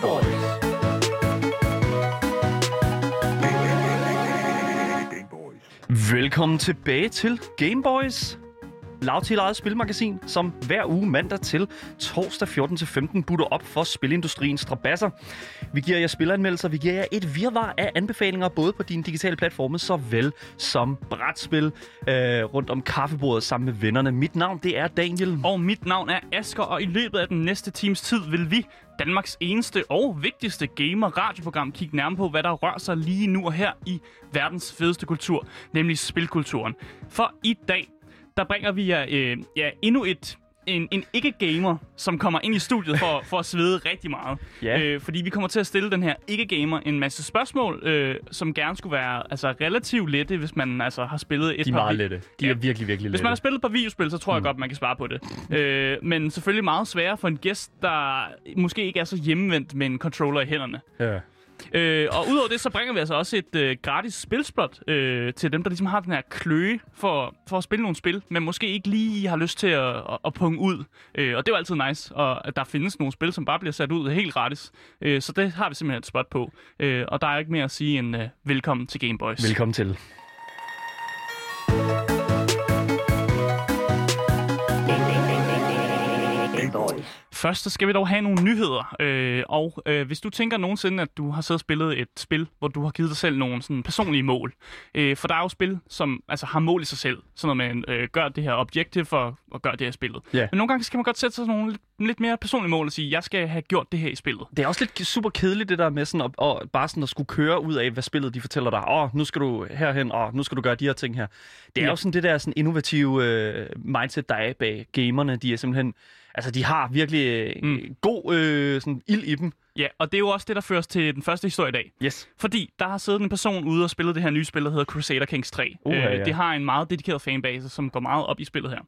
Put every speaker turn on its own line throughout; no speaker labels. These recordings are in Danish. Boys.
Velkommen tilbage til Gameboys. Lavtil eget spilmagasin, som hver uge mandag til torsdag 14-15 butter op for spilindustriens strabasser. Vi giver jer spilanmeldelser, vi giver jer et virvar af anbefalinger, både på dine digitale platforme, såvel som brætspil øh, rundt om kaffebordet sammen med vennerne. Mit navn, det er
Mm.
Daniel.
Og mit navn er Asker, og i løbet af den næste times tid vil vi, Danmarks eneste og vigtigste gamer-radioprogram, kigge nærmere på, hvad der rører sig lige nu og her i verdens fedeste kultur, nemlig spilkulturen. For i dag, der bringer vi jer øh, ja, endnu et en, en ikke-gamer, som kommer ind i studiet for, for at svede rigtig meget.
Ja.
Øh, fordi vi kommer til at stille den her ikke-gamer en masse spørgsmål, øh, som gerne skulle være altså, relativt lette, hvis man altså, har spillet et
De er
par
meget
vi-
lette. De er virkelig, virkelig
hvis man har
lette.
spillet et par videospil, så tror jeg godt, man kan svare på det. Øh, men selvfølgelig meget sværere for en gæst, der måske ikke er så hjemvendt med en controller i hænderne.
Ja.
Øh, og udover det, så bringer vi altså også et øh, gratis spilspot øh, til dem, der ligesom har den her kløe for, for at spille nogle spil, men måske ikke lige har lyst til at, at, at punge ud. Øh, og det er jo altid nice, og at der findes nogle spil, som bare bliver sat ud helt gratis. Øh, så det har vi simpelthen et spot på. Øh, og der er ikke mere at sige end øh, velkommen til Game Boys.
Velkommen til.
Først så skal vi dog have nogle nyheder, øh, og øh, hvis du tænker nogensinde, at du har siddet og spillet et spil, hvor du har givet dig selv nogle sådan, personlige mål, øh, for der er jo spil, som altså, har mål i sig selv, sådan noget med, øh, gør det her objektiv for at gøre det her spillet.
Ja.
Men nogle gange skal man godt sætte sig sådan nogle lidt, lidt mere personlige mål og sige, jeg skal have gjort det her i spillet.
Det er også lidt super kedeligt, det der med sådan at, og bare sådan at skulle køre ud af, hvad spillet de fortæller dig. Åh, nu skal du herhen, og nu skal du gøre de her ting her. Det er
Ja.
jo sådan det der sådan innovative øh, mindset, der er bag gamerne. De er simpelthen, altså de har virkelig øh, mm.
Mm.
god øh, sådan ild i dem.
Ja, og det er jo også det, der fører os til den første historie i dag.
Yes.
Fordi der har siddet en person ude og spillet det her nye spil, der hedder Crusader Kings 3.
Uha, ja.
Det har en meget dedikeret fanbase, som går meget op i spillet her.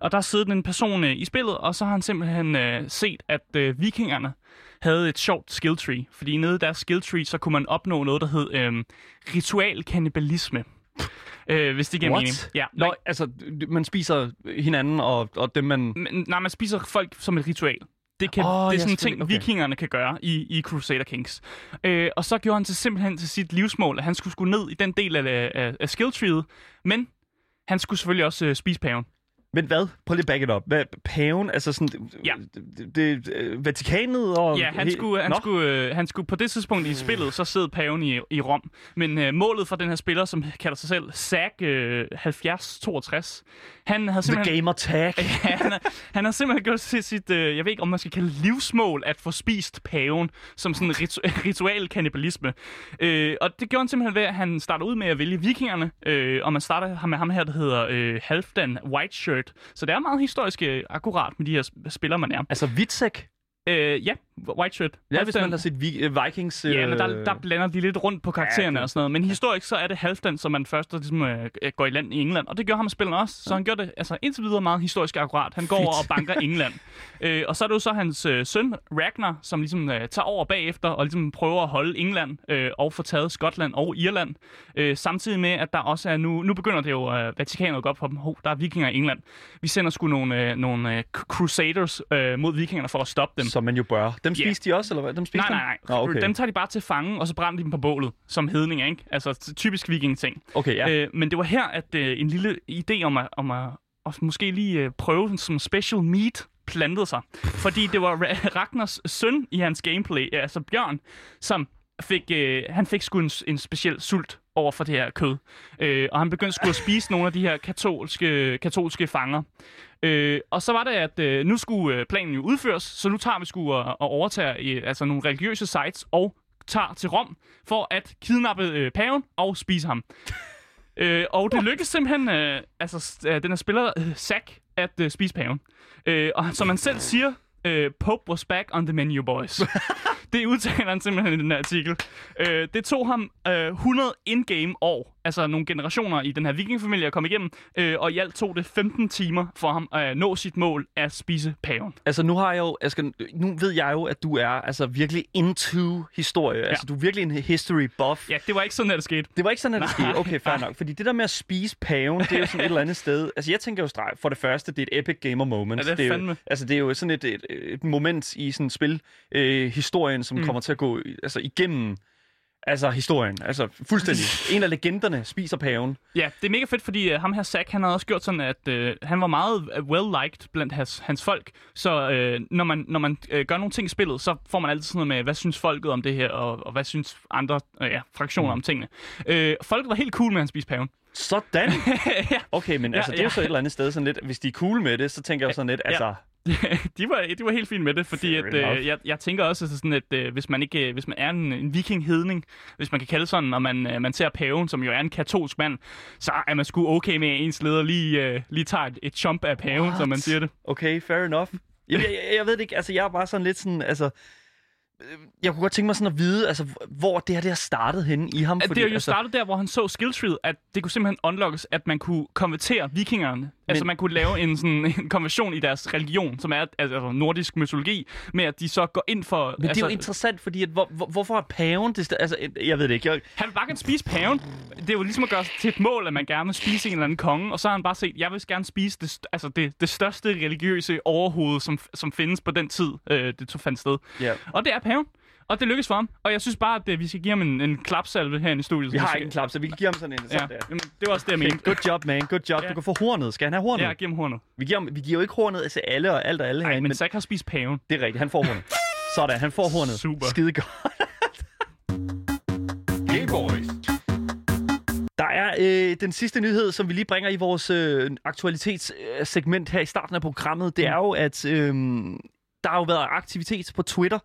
Og der har siddet en person øh, i spillet, og så har han simpelthen øh, set, at øh, vikingerne havde et sjovt skill tree. Fordi nede i deres skill tree, så kunne man opnå noget, der hed øh, ritual kannibalisme. Øh, hvis det giver
What?
mening. Ja,
Nå,
nej,
altså, d- man spiser hinanden, og, og dem man...
men, nej, man spiser folk som et ritual. Det, kan,
Åh,
oh,
ja,
det er sådan en ting,
selvfølgelig. Okay.
okay. vikingerne kan gøre i, i Crusader Kings. Øh, og så gjorde han til simpelthen til sit livsmål, at han skulle skulle ned i den del af, af, af skilltreeet, men han skulle selvfølgelig også øh, spise paven.
Men hvad? Prøv lige at back it up. Hvad, paven? Altså sådan...
Ja.
Det, det, øh, Vatikanet og...
Ja, han
he-
skulle, han,
Nå. Hmm.
skulle, øh, han skulle på det tidspunkt i spillet, så sidde paven i, i Rom. Men øh, målet for den her spiller, som kalder sig selv Zack øh, 7062, han havde simpelthen...
The gamer tag.
Ja, han, har, han har simpelthen gjort til sit, øh, jeg ved ikke om man skal kalde det livsmål, at få spist paven som sådan ritu- ritual kannibalisme. Øh, og det gjorde han simpelthen ved, at han starter ud med at vælge vikingerne, øh, og man starter med ham her, der hedder øh, Halfdan Whiteshirt. Så det er meget historisk øh, akkurat med de her sp- spillere, man er.
Altså, Vitsek.
Øh, ja, Whiteshirt.
Ja, hvis
Halfdan-
man har set vi- øh, Vikings...
Ja, men der,
øh,
der blander de lidt rundt på karaktererne
det-
og sådan noget. Men historisk så er det Halfdan, som man først ligesom, øh, øh, går i land i England. Og det gør ham spilleren også. Så han gør det altså, indtil videre meget historisk akkurat. Han går over og
Fedt.
banker England. øh, og så er det jo så hans øh, søn, Ragnar, som ligesom øh, tager over bagefter og ligesom prøver at holde England øh, og få taget Skotland og Irland. Øh, samtidig med, at der også er nu... Nu begynder det jo øh, Vatikanet at gå op for dem. Ho, der er vikinger i England. Vi sender sgu nogle, øh, nogle øh, crusaders øh, mod vikingerne for at stoppe dem.
Som man jo bør. Dem
Ja.
spiste de også, eller hvad? Dem spiste
Nej,
dem?
nej, nej.
Nå,
okay.
okay.
Dem tager de bare til fange, og så brænder de dem på bålet, som hedninger, ikke? Altså t- typisk viking-ting.
okay, ja.
Ja. Øh, men det var her, at øh, en lille idé om at, om at, at måske lige øh, prøve den som special meat plantede sig. Fordi det var Ra- Ragnars søn i hans gameplay, øh, altså Bjørn, som fik, øh, han fik sgu en, s- en speciel sult over for det her kød. Øh, og han begyndte sgu at spise nogle af de her katolske, katolske fanger. Øh, og så var det, at øh, nu skulle øh, planen jo udføres, så nu tager vi sgu og, og overtager øh, altså nogle religiøse sites og tager til Rom for at kidnappe øh, paven og spise ham. Øh, og det lykkedes simpelthen, øh, altså s- øh, den her spiller, øh, Zack, at øh, spise paven. Øh, og som man selv siger, øh, Pope was back on the menu, boys. det udtaler han simpelthen i den her artikel. Øh, det tog ham øh, 100 in-game år, altså nogle generationer i den her vikingfamilie at komme igennem, øh, og i alt tog det 15 timer for ham at nå sit mål at spise paven.
Altså, nu har jeg jo... Asger, nu ved jeg jo, at du er altså, virkelig into historie. Ja. Altså, du er virkelig en history buff.
Ja, det var ikke sådan, at det skete.
Det var ikke sådan, at det
Nej.
skete. Okay, fair nok. Fordi det der med at spise paven, det er jo sådan et eller andet sted. Altså, jeg tænker jo streg. For det første, det er et epic gamer moment.
Ja, det er
det er jo,
fandme.
altså, det er jo sådan et, et, et moment i sådan spilhistorien, øh, historien, Superman, som mm. kommer til at gå i- altså, igennem altså, historien. Altså fuldstændig. En af legenderne spiser paven.
Ja, det er mega fedt, fordi øh, ham her Zack, han havde også gjort sådan, at øh, han var meget øh, well-liked blandt hans, hans folk. Så øh, når man, når man øh, gør nogle ting i spillet, så får man altid sådan noget med, hvad synes folket om det her, og, og hvad synes andre øh, ja, fraktioner mm. om tingene. Øh, folket var helt cool med, at han spiste paven.
Sådan!
ja,
Okay, men
Ja,
altså, det er jo
ja.
så et eller andet sted sådan lidt, hvis de er cool med det, så tænker jeg jo sådan lidt,
Ja.
altså,
de var, de var helt fint med det, fordi
Fair
at,
enough.
øh, jeg, jeg tænker også altså sådan, at øh, hvis man ikke, øh, hvis man er en, en vikinghedning, hvis man kan kalde sådan, og man, øh, man ser paven, som jo er en katolsk mand, så er man sgu okay med, at ens leder lige, øh, lige tager et, et chomp af paven, What? som man siger det.
okay, fair enough. Jamen, jeg, jeg, jeg ved det ikke, altså, jeg er bare sådan lidt sådan, altså, øh, jeg kunne godt tænke mig sådan at vide, altså, hvor det her det har startet henne i ham.
At det er jo
altså,
startet der, hvor han så skilltreet, at det kunne simpelthen unlockes, at man kunne konvertere vikingerne. Men... Altså
Men-
man kunne lave en, sådan, en konversion i deres religion, som er altså, nordisk mytologi, med at de så går ind for...
Men
altså,
det er jo interessant, fordi at hvor, hvor, hvorfor er paven det sted, altså, jeg ved det ikke, jeg,
Han vil bare gerne spise paven. Det er jo ligesom at gøre sig til et mål, at man gerne vil spise en eller anden konge. Og så har han bare set, jeg vil gerne spise det, st- altså det, det største religiøse overhoved, som, som findes på den tid, øh, det tog fandt sted.
Ja.
Og det er paven. Og det lykkes for ham. Og jeg synes bare, at øh, vi skal give ham en, en klapsalve herinde i studiet.
vi har ikke en klap, så vi kan give ham sådan en, sådan
Ja,
der.
jamen, det var også det, jeg
Men
mente.
good job, man. Good job.
Ja.
Ja. Du kan få hornet. Skal han have hornet?
Ja,
Ja.
giv ham hornet.
Vi, giver, ham- vi giver jo ikke hornet til alle og alt og alle
Nej,
herinde,
men
men
Zack har spist paven.
det er rigtigt. Han får hornet. Sådan, han får hornet.
Super.
Skide godt.
Gameboys.
Der er øh, den sidste nyhed, som vi lige bringer i vores øh, aktualitetssegment her i starten af programmet. Det er jo, at øh, der har jo været aktivitet på Twitter.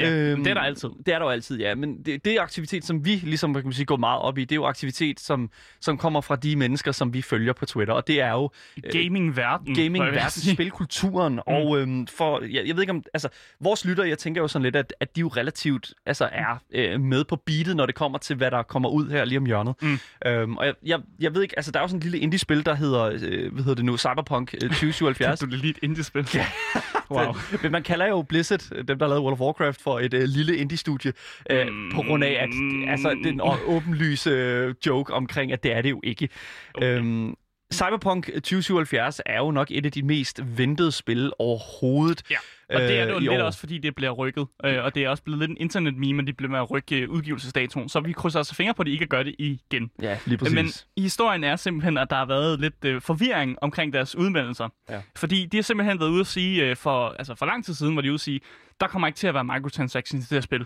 Øhm,
Ja, det er der altid.
Det er der jo altid, ja. Men det, det er aktivitet, som vi ligesom hvad kan man sige, går meget op i. Det er jo aktivitet, som, som kommer fra de mennesker, som vi følger på Twitter. Og det er jo øh,
Gaming-verden.
gaming
tror jeg, jeg vil
verden,
sige.
spilkulturen, og øhm, for, jeg, jeg ved ikke om, altså, vores lytter, jeg tænker jo sådan lidt, at, at de jo relativt altså, er øh, med på beatet, når det kommer til, hvad der kommer ud her lige om hjørnet.
Mm.
Øhm, og jeg, jeg, jeg ved ikke, altså, der er jo sådan et lille indie-spil, der hedder, øh, hvad hedder det nu, Cyberpunk øh, 2077.
Du er lige et indie-spil. Ja. Wow.
Men man kalder jo Blizzard, øh, dem der lavede World of Warcraft, for et øh, lille indie-studie, øh,
Mm.
mm. på grund af, at altså, den å- åbenlyse øh, joke omkring, at det er det jo ikke. Okay. Øhm, Cyberpunk 2077 er jo nok et af de mest ventede spil overhovedet.
Ja, Og det er det jo
øh, i
lidt
år.
også, fordi det bliver rykket. Øh, og det er også blevet lidt en internet-meme, at de bliver med at rykke øh, udgivelsesdatoen. Så vi krydser altså fingre på, at de ikke gør det igen.
Ja, lige præcis.
Men historien er simpelthen, at der har været lidt øh, forvirring omkring deres udmeldelser.
Ja.
Fordi de har simpelthen været ude at sige, øh, for, altså for lang tid siden var de ude at sige, der kommer ikke til at være microtransactions i det her spil.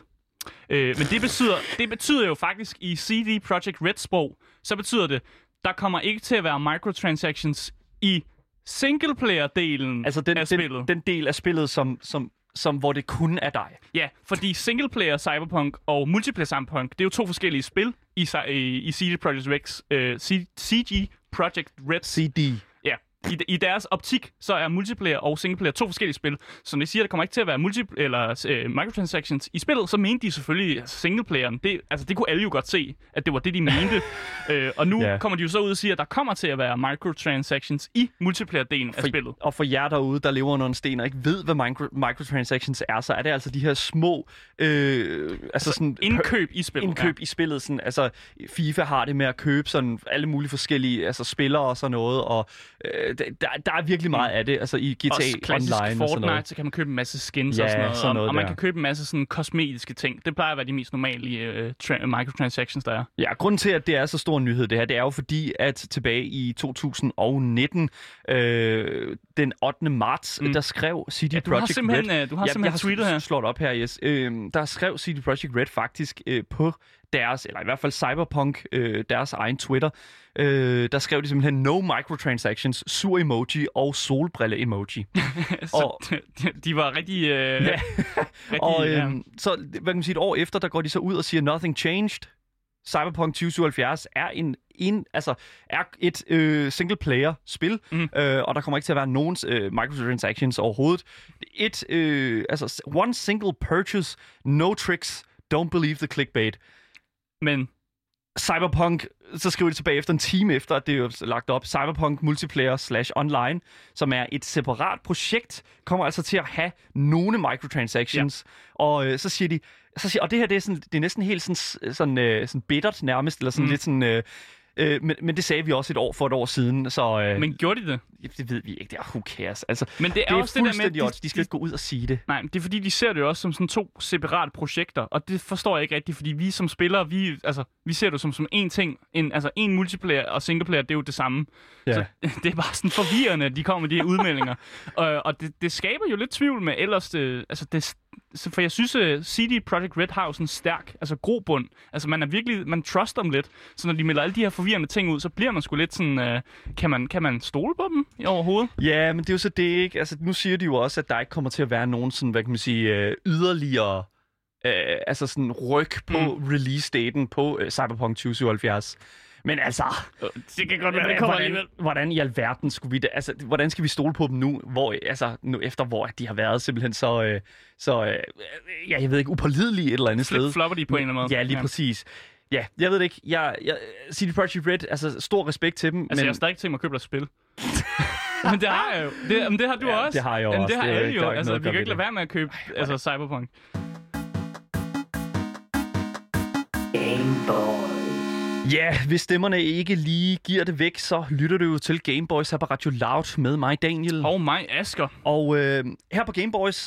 Øh, men det betyder, det betyder jo faktisk i CD Projekt Red sprog, så betyder det, der kommer ikke til at være microtransactions i singleplayer-delen
altså den,
af spillet.
den, den del af spillet, som, som, som, hvor det kun er dig.
Ja, fordi singleplayer Cyberpunk og multiplayer Cyberpunk, det er jo to forskellige spil i, Cy- i, i CD Projekt Rex, øh, C- CG Project Red.
CD.
Ja. I, I deres optik, så er multiplayer og singleplayer to forskellige spil. Så når de siger, at der kommer ikke til at være multi eller, øh, microtransactions i spillet, så mente de selvfølgelig altså singleplayeren. Det, altså, det kunne alle jo godt se, at det var det, de mente. øh, og nu
Ja.
yeah. kommer de jo så ud og siger, at der kommer til at være microtransactions i multiplayer-delen af spillet.
Og for jer derude, der lever under en sten og ikke ved, hvad micro- microtransactions er, så er det altså de her små... Øh, altså sådan
Indkøb i spillet.
indkøb i spillet. Sådan, altså, FIFA har det med at købe sådan alle mulige forskellige altså, spillere og sådan noget, og øh, der- der, der er virkelig meget af det altså, i GTA
også Mm. klassisk
Online og sådan
Fortnite,
noget.
så kan man købe en masse skins
Ja,
og sådan noget,
sådan noget
og, og man
der.
kan købe en masse sådan kosmetiske ting. Det plejer at være de mest normale øh, tra- microtransactions, der er.
Ja, grunden til, at det er så stor en nyhed, det her, det er jo fordi, at tilbage i 2019, øh, den 8. marts,
Mm.
mm. der skrev CD
Ja,
ja,
du, har
Projekt Red...
simpelthen, øh, du har
jeg, jeg har
simpelthen tweetet
s-
her.
slået op her, yes. Øhm, der skrev CD Projekt Red faktisk øh, på deres, eller i hvert fald Cyberpunk, øh, deres egen Twitter, øh, der skrev de simpelthen no microtransactions, sur emoji og solbrille emoji.
Så de, de var rigtig... Øh, ja. rigtig
og
ja.
øhm, så, hvad kan man sige, et år efter, der går de så ud og siger, nothing changed. Cyberpunk 2077 er en, en altså er et øh, single player spil,
Mm.
mm. øh, og der kommer ikke til at være nogen øh, microtransactions overhovedet. Et øh, altså s- one single purchase, no tricks, don't believe the clickbait.
Men
Cyberpunk, så skriver de tilbage efter en time efter, at det er jo lagt op, Cyberpunk Multiplayer slash Online, som er et separat projekt, kommer altså til at have nogle microtransactions. Ja. Og øh, så siger de, så siger, og det her det er, sådan, det er næsten helt sådan, sådan, øh, sådan bittert nærmest, eller sådan mm. lidt sådan... Øh, Øh, men, men det sagde vi også et år for et år siden, så øh, men,
Men gjorde de det?
det ved vi ikke. Det er who cares. Altså, det
Men det er,
er, det er
også det der med,
fuldstændig
at
odds. De skal ikke gå ud og sige det.
Nej, men det er fordi, de ser det jo også som sådan to separate projekter, og det forstår jeg ikke rigtigt, fordi vi som spillere, vi, altså, vi ser det som, som én ting. En, altså, en multiplayer og singleplayer, det er jo det samme.
Ja.
Så det er bare sådan forvirrende, at de kommer med de her udmeldinger. og, og det, det, skaber jo lidt tvivl med ellers, det, altså, det, så- for jeg synes, uh, CD Projekt Red har jo sådan en stærk, altså grobund. Altså man er virkelig, man truster dem lidt. Så når de melder alle de her forvirrende ting ud, så bliver man sgu lidt sådan, øh, kan, man, kan man stole på dem overhovedet?
Ja, men det er jo så det ikke. Altså, nu siger de jo også, at der ikke kommer til at være nogen sådan, hvad kan man sige, øh, yderligere øh, altså sådan ryg på mm. release-daten på øh, Cyberpunk 2077. Men altså,
Det kan godt
hvordan, hvordan i alverden skulle vi da, altså, hvordan skal vi stole på dem nu, hvor, altså, nu efter hvor de har været simpelthen så, øh, så øh, ja, jeg ved ikke, upålidelige et eller andet sted.
Flip flopper de på en eller anden måde.
Ja, lige ja. præcis. Ja, jeg ved det ikke. Jeg, jeg, CD Projekt Red, altså stor respekt til dem.
Altså, men... jeg
men,
har stadig ikke tænkt mig at købe dig et spil. men det har jeg jo. Det, men det har du
Ja,
også.
det har jeg jo
men
også.
det har
Det er jo
alle
ikke-
jo.
der er jo ikke
Altså,
noget at
vi kan
gøre
ikke
ved
lade være med at købe altså, Cyberpunk.
Ja, hvis stemmerne ikke lige giver det væk, så lytter du jo til Gameboys her på Radio Loud med mig, Daniel.
Og mig, Asker.
Og øh, her på Gameboys,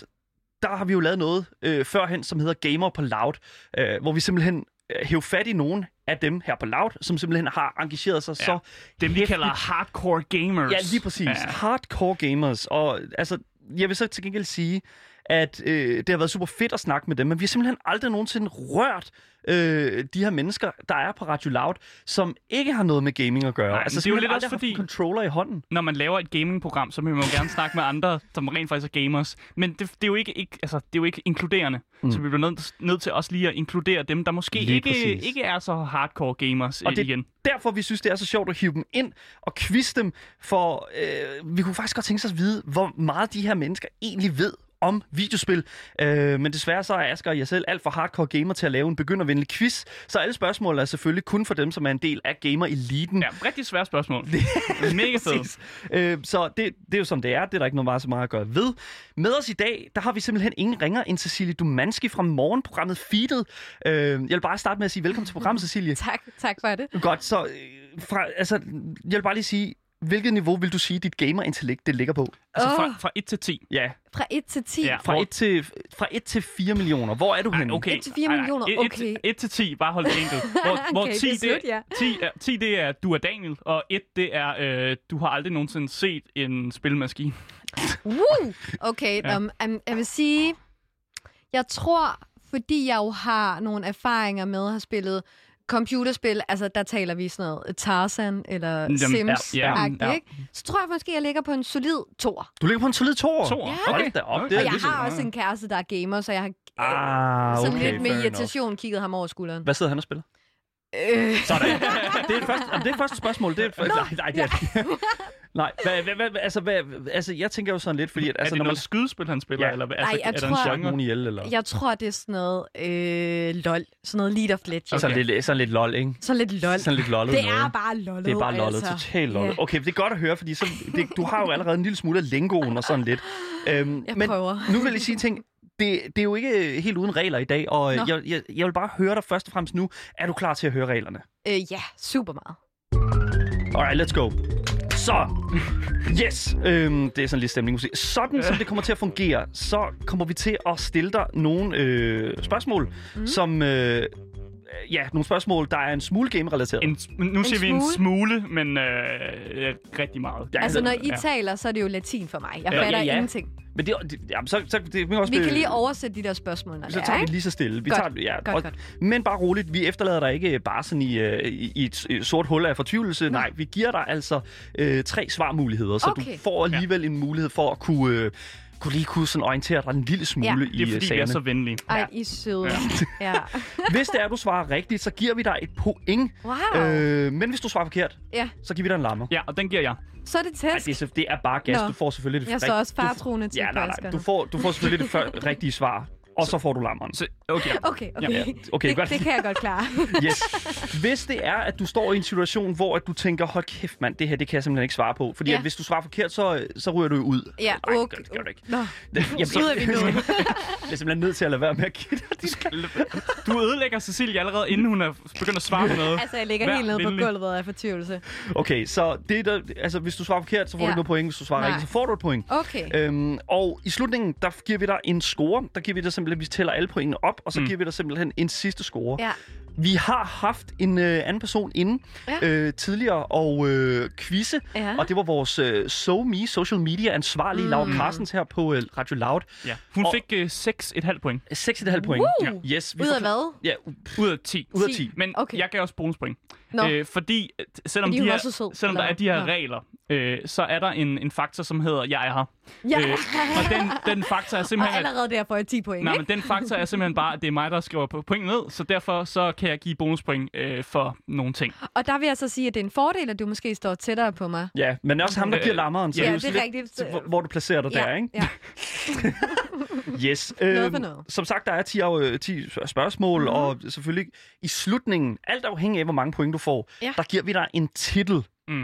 der har vi jo lavet noget øh, førhen, som hedder Gamer på Loud, øh, hvor vi simpelthen øh, hæver fat i nogen af dem her på Loud, som simpelthen har engageret sig ja. så...
Dem, vi kalder hardcore gamers.
Ja, lige præcis. Ja. Hardcore gamers. Og altså, jeg vil så til gengæld sige, at øh, det har været super fedt at snakke med dem, men vi har simpelthen aldrig nogensinde rørt øh, de her mennesker, der er på Radio Loud, som ikke har noget med gaming at gøre. Altså,
Nej, men det er jo
simpelthen
lidt
aldrig
også
haft
fordi-
en controller i hånden.
Når man laver et gamingprogram, så vil man jo gerne snakke med andre, som rent faktisk er gamers. Men det, det, er, jo ikke, ikke, altså, det er jo ikke inkluderende. Mm. Så vi bliver nødt nødt til også lige at inkludere dem, der måske
Lige
ikke,
præcis.
ikke er så hardcore gamers øh,
Og det
igen.
er derfor, vi synes, det er så sjovt at hive dem ind og quizze dem, for øh, vi kunne faktisk godt tænke os at vide, hvor meget de her mennesker egentlig ved om videospil. Øh, men desværre så er Asger og jeg selv alt for hardcore gamer til at lave en begyndervenlig quiz, så alle spørgsmål er selvfølgelig kun for dem, som er en del af gamer-eliten.
Ja, rigtig svært spørgsmål. Mega fedt.
Præcis. Øh, så det, det er jo som det er. Det er der ikke noget meget så meget at gøre ved. Med os i dag, der har vi simpelthen ingen ringer end Cecilie Dumanski fra morgenprogrammet Feedet. Øh, jeg vil bare starte med at sige velkommen til programmet, Cecilie.
Tak, tak for det.
Godt, så øh, fra, altså, jeg vil bare lige sige, hvilket niveau vil du sige, dit gamer-intellekt det ligger på?
Altså fra,
Åh.
fra 1 til 10.
Ja,
Fra 1 til 10.
Ja.
Ja.
fra,
Hvor-
1 til, fra 1 til 4 millioner. Hvor er du henne?
Okay.
1 til 4
Ej, nej.
millioner,
Et- et-
okay.
1 til 10, bare hold det enkelt. Hvor, hvor
Kan I
10,
beslutte jer?
det, 10, er, 10 det er, du er Daniel, og 1 det er, øh, du har aldrig nogensinde set en spilmaskine.
Woo! Okay, ja. um, um, jeg vil sige, jeg tror, fordi jeg jo har nogle erfaringer med at have spillet computerspil, altså der taler vi sådan noget Tarzan eller
Jamen, ja,
Sims,
ja, ja.
Ikke? så tror jeg måske, jeg ligger på en solid toer.
Du ligger på en solid toer.
Toer.
Ja.
Hold da op.
Okay.
Det er
Og jeg
ligesom...
har også en kæreste, der er gamer, så jeg har ah,
Ah,
sådan
okay.
lidt med
fair enough.
irritation kigget ham over skulderen.
Hvad sidder han og spiller?
Øh,
Sådan. Det er det første, jamen, det er første spørgsmål. Det er, nej, nej, det er, nej. Hvad, hvad, hvad, altså, hvad, altså, jeg tænker jo sådan lidt, fordi... At,
Altså,
altså,
er det
når man
noget skydespil, han spiller?
Ja.
Eller, hvad? altså,
Nej, jeg
er
tror-
der
slår ikke
en genre?
nogen ihjel, eller...
jeg tror, det er sådan noget øh, LOL, sådan noget League of Legends.
Sådan, lidt, sådan lidt lol, ikke?
Så lidt LOL.
Sådan lidt lollet
Det
noget.
er bare lollet,
Det er bare lollet,
altså.
altså. totalt lollet.
Ja.
Yeah. Okay, det er godt at høre, fordi så, det, du har jo allerede en lille smule af lingoen og sådan lidt. Øhm,
Jeg
men
prøver.
nu vil jeg sige en ting. Det, det er jo ikke øh, helt uden regler i dag, og øh,
Nå.
jeg, jeg, jeg vil bare høre dig først og fremmest nu. Er du klar til at høre reglerne?
Øh, ja, super meget.
Alright, let's go. Så, yes, øhm, det er sådan lidt stemningsmusik. Sådan som det kommer til at fungere, så kommer vi til at stille dig nogle øh, spørgsmål, mm. som... Øh, ja, nogle spørgsmål, der er en smule game-relateret.
En, s- nu siger vi en
smule?
smule, men øh, øh, rigtig meget.
Ja,
Altså, når I
ja.
taler, så er det jo latin for mig. Jeg
Ja,
fatter
ja, ja.
ja, ja. ingenting.
Men det, det, jamen, så, så, det, vi, kan også
Vi
blive-
kan lige oversætte de der spørgsmål, når det
Så
er,
tager vi
ikke?
lige så stille. Vi
Godt.
tager, ja,
Godt,
og,
godt.
Men bare roligt, vi efterlader dig ikke bare sådan i, øh, i, i et øh, sort hul af fortvivlelse. Nej, vi giver dig altså øh, tre svarmuligheder, så
Okay.
du får alligevel en mulighed for at kunne, øh, kunne lige kunne sådan orientere dig en lille smule
Ja.
i
Det er,
øh,
fordi vi
sagerne.
er så venlige.
Ej, I er søde.
Ja.
Ja. ja.
Hvis det er, du svarer rigtigt, så giver vi dig et point.
Wow.
Øh, men hvis du svarer forkert,
ja.
så giver vi dig en lammer.
Ja, og den giver jeg.
Så er det
Ej,
test.
det, er, så- det er bare gas.
Nå.
Du får selvfølgelig det
Jeg så
rigt-
også
du-
faretruende til
Ja, nej, nej.
Asger
Du
nu.
får, du får selvfølgelig det før, rigtige svar. og så får du lammeren.
Så, okay.
Okay, okay.
Ja, ja. Okay,
det,
godt.
det kan jeg godt klare.
Yes. Hvis det er, at du står i en situation, hvor at du tænker, hold kæft mand, det her det kan jeg simpelthen ikke svare på. Fordi
Ja.
ja. at hvis du svarer forkert, så, så ryger du jo ud.
Ja,
Nej, det
okay.
gør- det gør du ikke.
Nå,
Jamen,
så ud af vinduet.
Jeg er simpelthen nødt til at lade være med at give dig de
Du ødelægger Cecilie allerede, inden hun er begyndt at svare på noget.
Altså, jeg ligger
Vær
helt nede på
venlig.
gulvet af fortvivlelse.
Okay, så det der, altså, hvis du svarer forkert, så får ja.
Ja.
du ikke noget point. Hvis du svarer
Nej.
rigtigt, så får du et point.
Okay.
Øhm, og i slutningen, der giver vi dig en score. Der giver vi dig simpelthen, vi tæller alle pointene op, og så
Mm.
mm. giver vi dig simpelthen en sidste score.
Ja.
Vi har haft en øh, anden person inde
Ja.
ja. øh, tidligere og øh, quizze,
Ja.
og det var vores øh, SoMe, social media ansvarlige mm. Laura Carstens her på øh, Radio Loud.
Ja. Hun
Og-
fik øh, 6,5 point
6,5 point.
Woo!
Ja. Yes,
Ud af
forkl-
hvad?
Ja,
ud af 10.
ud af
Ti.
10.
Men
Okay.
okay. jeg gav også bonuspoint.
Nå.
Øh, fordi øh, selvom,
Fordi
de
hun
her,
var så sød,
selvom der
eller
er de her
hvad? Nå.
regler, øh, så er der en, en faktor, som hedder jeg er her.
Ja.
Øh, og den, den faktor er
Og
simpelthen... at-
allerede der får jeg 10 point,
Nej,
ikke?
men den faktor er simpelthen bare, at det er mig, der skriver på point ned, så derfor så kan jeg give bonuspoint øh, for nogle ting.
Og der vil jeg så sige, at det er en fordel, at du måske står tættere på mig.
Ja, men også ham, der giver lammeren. Så
Ja,
jo
det er
sådan
rigtigt.
til, Hvor, hvor du placerer dig der, ikke?
Ja.
Yes. Øhm,
Noget for noget. Mhm.
Som sagt, der er 10, af- øh, 10 spørgsmål, mm-hmm. og selvfølgelig i slutningen, alt afhængig af, hvor mange point du får,
Ja.
ja. der giver vi dig en titel.
Åh,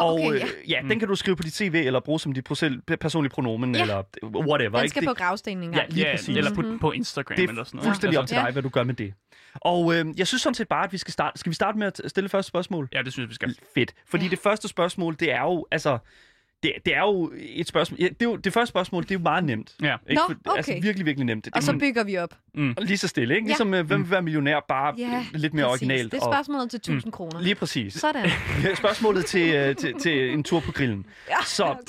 Og
okay,
øh,
ja.
ja,
Mm.
den kan du skrive på dit CV, eller bruge som dit procel- personlige pronomen,
Ja.
ja. eller whatever.
Den
ikke?
skal
det,
på gravstenen engang.
Ja, lige
ja,
præcis.
Eller
Mm-hmm.
på, på Instagram
det
eller sådan
er
noget. Altså,
fuldstændig op til
Ja.
dig, hvad du gør med det. Og øh, jeg synes sådan set bare, at vi skal starte. Skal vi starte med at stille første spørgsmål?
Ja, det synes jeg, vi skal.
Fedt. Fordi det første spørgsmål, det er jo, altså, det, det er jo et spørgsmål. ja, Det, er jo, det første spørgsmål, det er jo meget nemt.
Ja.
Ikke?
Nå,
Altså
okay.
virkelig, virkelig nemt. Det,
Og så bygger vi op.
Lige så stille, ikke?
Ja.
Ligesom øh, hvem vil være millionær, bare
Ja,
øh, lidt mere
præcis.
originalt. Mm.
Det er spørgsmålet til 1000 kroner.
Lige præcis.
Sådan.
Spørgsmålet til, øh, til, til en tur på grillen.
Ja,
Så-
okay.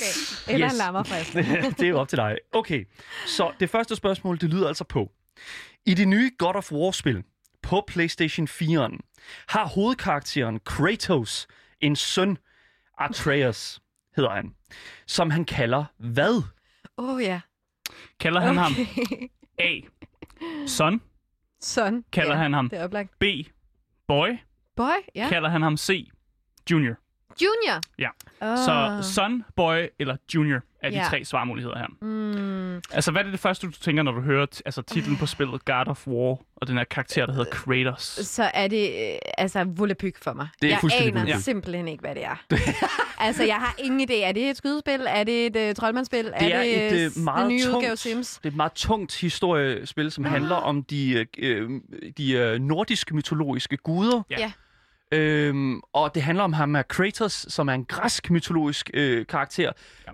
Eller en
Yes.
lammerfrist.
det er jo op til dig. Okay, så det første spørgsmål, det lyder altså på. I det nye God of War-spil på PlayStation 4'eren har hovedkarakteren Kratos en søn, Atreus hedder han, som han kalder hvad?
Åh, oh, ja.
Kalder han ham
Okay.
A. Son.
Sådan.
Kalder
ja,
han ham.
Det er oplagt.
B. Boy.
Boy, ja.
Kalder han ham C. Junior.
Junior.
Ja.
Oh.
Så son, boy eller junior er de
Ja.
tre svarmuligheder her.
Mm,
Altså, hvad er det første, du tænker, når du hører t- altså, titlen på spillet God of War, og den her karakter, der hedder Kratos?
så er det øh, altså vullepyg for mig.
Det er
jeg
fuldstændig
aner
vullepyg.
simpelthen ikke, hvad det er. altså, jeg har ingen idé. Er det et skydespil? Er det et uh, troldmandsspil?
Det er,
det øh,
et
den
øh, meget
nye udgave
tungt,
Sims? Ah.
det er et meget tungt historiespil, som handler om de, øh, de øh, nordiske mytologiske guder.
Ja.
Ja.
Øhm, og det handler om ham her Kratos, som er en græsk mytologisk øh, karakter.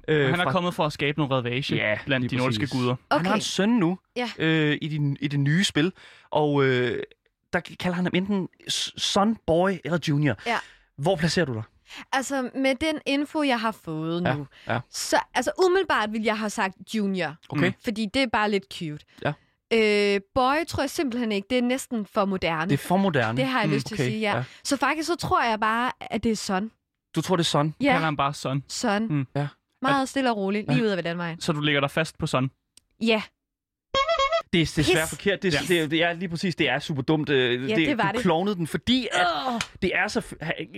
Ja.
Øh, han er kommet for at skabe noget ravage
Ja,
blandt
lige
de nordiske
præcis.
guder.
Okay. Han har en søn nu
Ja.
øh, i, de, i det nye spil, og øh, der kalder han ham enten s- son, boy eller junior.
Ja.
Hvor placerer du dig?
Altså, med den info, jeg har fået nu,
ja.
så altså, umiddelbart ville jeg have sagt junior.
Okay.
Fordi det er bare lidt cute.
Ja.
Øh, boy tror jeg simpelthen ikke. Det er næsten for moderne.
Det er for moderne. Mm,
Det har jeg lyst til at
okay,
sige, ja.
ja.
Så faktisk så tror jeg bare, at det er sådan.
Du tror, det er son?
Ja.
Ja,
Kalder han bare son.
sådan.
Mm,
ja.
Meget stille og roligt, lige ud af ved den vej.
Så du ligger dig fast på son.
Ja,
Det er desværre
Pis.
forkert. Det,
Ja.
ja. det, det er lige præcis, det er super dumt. Øh,
Ja, det var
du
det.
klovnede den, fordi at det er så...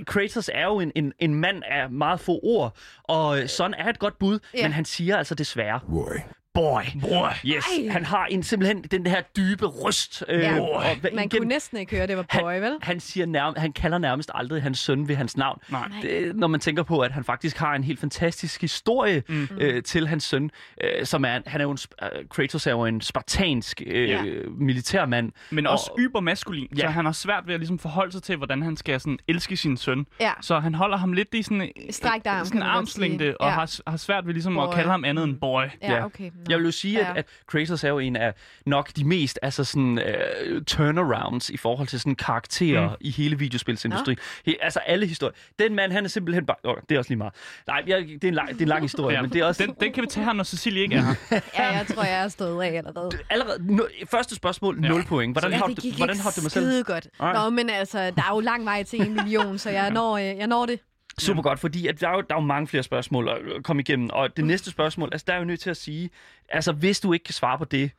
Kratos er jo en, en, en mand af meget få ord, og øh, Son er et godt bud,
Ja.
ja. men han siger altså desværre... Boy. Boy. Boy. Yes,
Ej.
Ej. han har en, simpelthen den her dybe ryst. Øh,
Ja.
og hvad-
man kunne næsten ikke høre, det var boy, vel?
han, siger nærm- han kalder nærmest aldrig hans søn ved hans navn.
Nej.
Det, når man tænker på, at han faktisk har en helt fantastisk historie mm. øh, til hans søn, øh, som er, han er jo en, sp- øh, Kratos er jo en spartansk øh,
Ja.
ja. militærmand.
Men også
Og-
ybermaskulin, ja. så
Ja.
han har svært ved at ligesom forholde sig til, hvordan han skal sådan, elske sin søn.
Ja.
Så han holder ham lidt i sådan, øh,
Strakt arm, kan
sådan
man
en
godt
armslængde,
sige.
og
Ja.
har, har svært ved ligesom
Boy. Mm.
at kalde ham andet end boy.
Ja, okay. Nå.
Jeg vil jo sige,
Ja.
at, at Kratos er jo en af nok de mest altså sådan, uh, turnarounds i forhold til sådan karakterer mm. i hele videospilsindustrien. He, altså alle historier. Den mand, han er simpelthen bare... Oh, det er også lige meget. Nej, jeg, det, er en lang, det er en lang historie, ja. men det er også...
den, den kan vi tage her, når Cecilie ikke er her.
Ja, jeg tror, jeg er stået af allerede.
Allerede, no, første spørgsmål, 0 point. Hvordan,
Ja,
har,
det
du,
gik
hvordan
ikke
har du mig selv?
skide godt. Nå, men altså, der er jo lang vej til en million, så jeg når, øh, jeg når det.
Super godt, fordi at der, er jo, der er jo mange flere spørgsmål at øh, komme igennem. Og
Mm.
det næste spørgsmål, altså der er jeg jo nødt til at sige, altså hvis du ikke kan svare på det,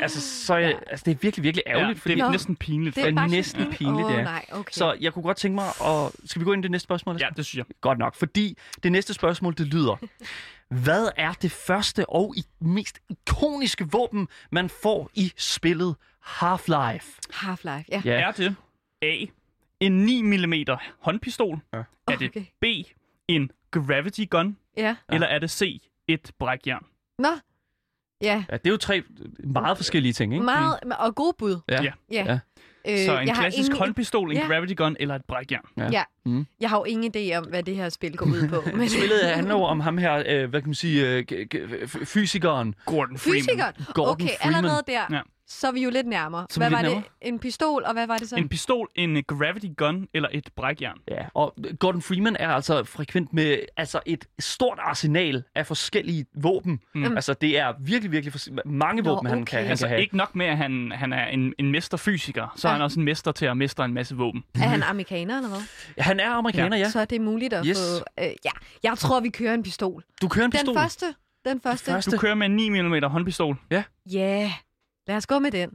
altså så er jeg, altså, det er virkelig, virkelig
Ja,
ærgerligt.
det
fordi,
er
Nå.
næsten pinligt.
Det
for-
er
er
faktisk
næsten
sådan-
pinligt,
Åh,
det er.
nej, okay.
Så jeg kunne godt tænke mig at... Skal vi gå ind i det næste spørgsmål?
Ja, det synes jeg.
Godt nok, fordi det næste spørgsmål, det lyder. Hvad er det første og i mest ikoniske våben, man får i spillet Half-Life?
Half-Life, ja.
Ja. Er det A. En 9 mm håndpistol?
Ja.
Er det
Okay.
B. En gravity gun?
ja.
Ja. Eller er det C. Et brækjern?
Nå. Ja,
Ja, det er jo tre meget forskellige ting, ikke?
meget, og gode bud.
Ja.
Ja.
Ja.
Ja.
Øh,
Så en
jeg har
klassisk
ingen,
håndpistol, en
Ja.
gravity gun eller et brækjern?
Ja.
Mm.
Mm. Jeg har jo ingen idé om, hvad det her spil går ud på. Men
Spillet
er
handler jo om ham her, øh, hvad kan man sige, øh, g- g- f- fysikeren.
Gordon Freeman.
Fysikeren?
Gordon
Okay,
Freeman.
allerede der,
Ja.
ja. så er vi jo lidt nærmere.
Så er
hvad
vi
var
lidt
det? En pistol, og hvad var det så?
En pistol, en øh, gravity gun eller et brækjern?
Ja. Og Gordon Freeman er altså frekvent med altså et stort arsenal af forskellige våpen. Mm.
Mm.
Altså, det er virkelig, virkelig fors- mange
Nå,
våben, han kan,
okay.
han
Altså
kan have.
ikke nok med, at han, han er en, en mesterfysiker, så er
Ja.
han også en mester til at mestre en masse våben.
Er han amerikaner eller hvad?
Han er amerikaner, ja.
Så er det muligt at
Yes.
få... Øh, ja, jeg tror, vi kører en pistol.
Du kører en pistol.
Den første? Den første?
første.
Du kører med en 9 mm håndpistol.
Ja, yeah. lad os gå med den.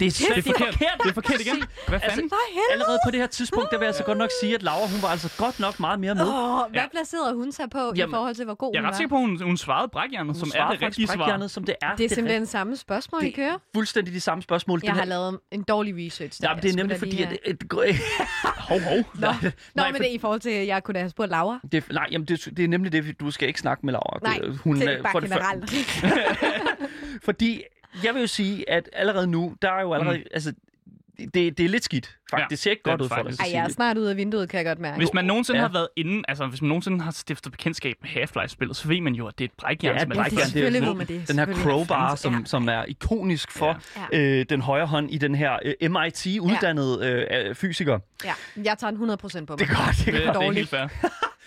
Det er, slet
Det er
ikke
forkert. Det er forkert igen. Hvad fanden?
Altså, For helvede!
Allerede på det her tidspunkt, der vil jeg altså godt nok sige, at Laura, hun var altså godt nok meget mere med.
Åh, hvad
Ja.
placerede hun sig på
Jamen,
Jamen, i forhold til, hvor god
Jeg er
hun
ret
var?
sikker på, at hun, hun svarede brækjernet, som er
svarer
det
faktisk
rigtige svar.
brækhjernet, som det er.
Det er
rigtige-
simpelthen samme spørgsmål, I kører.
fuldstændig de samme spørgsmål.
Jeg har lavet en dårlig research. der.
Ja, men det
Jeg
er
skulle
nemlig
da lige
fordi, at...
have-
at, at hov, hov.
Nå,
Nej,
Nå
nej, for-
men
Øh,
det er i forhold til, at jeg kunne da have spurgt Laura.
det, nej, jamen det, det er nemlig det, du skal ikke snakke med Laura.
Nej,
Det-
hun,
øh,
til bare
for det før-
generelt.
Fordi jeg vil jo sige, at allerede nu, der er jo allerede... Mm. Altså, det, det er lidt skidt, faktisk.
Ja,
Ja, det ser ikke
det er
godt
det
ud for dig.
faktisk.
Ej, jeg er snart ude af vinduet, kan jeg godt mærke.
Hvis man nogensinde
Ja.
ja. har været inde, altså hvis man nogensinde har stiftet bekendtaf med Half-Life-spillet, så ved man jo, at det er et brækjern,
Ja,
som er
et
ja, det er
brækjern,
rigtigt.
det er jo
selvfølgelig,
sådan-
hvor man det.
Den her
Selvfølgelig.
crowbar, som,
Ja.
som er ikonisk for ja.
Ja.
øh, den højre hånd i den her øh, MIT-uddannede øh, øh, fysiker.
Ja, jeg tager den 100% på mig.
Det er godt, det er
Det,
godt.
det er
Dårligt.
helt fair.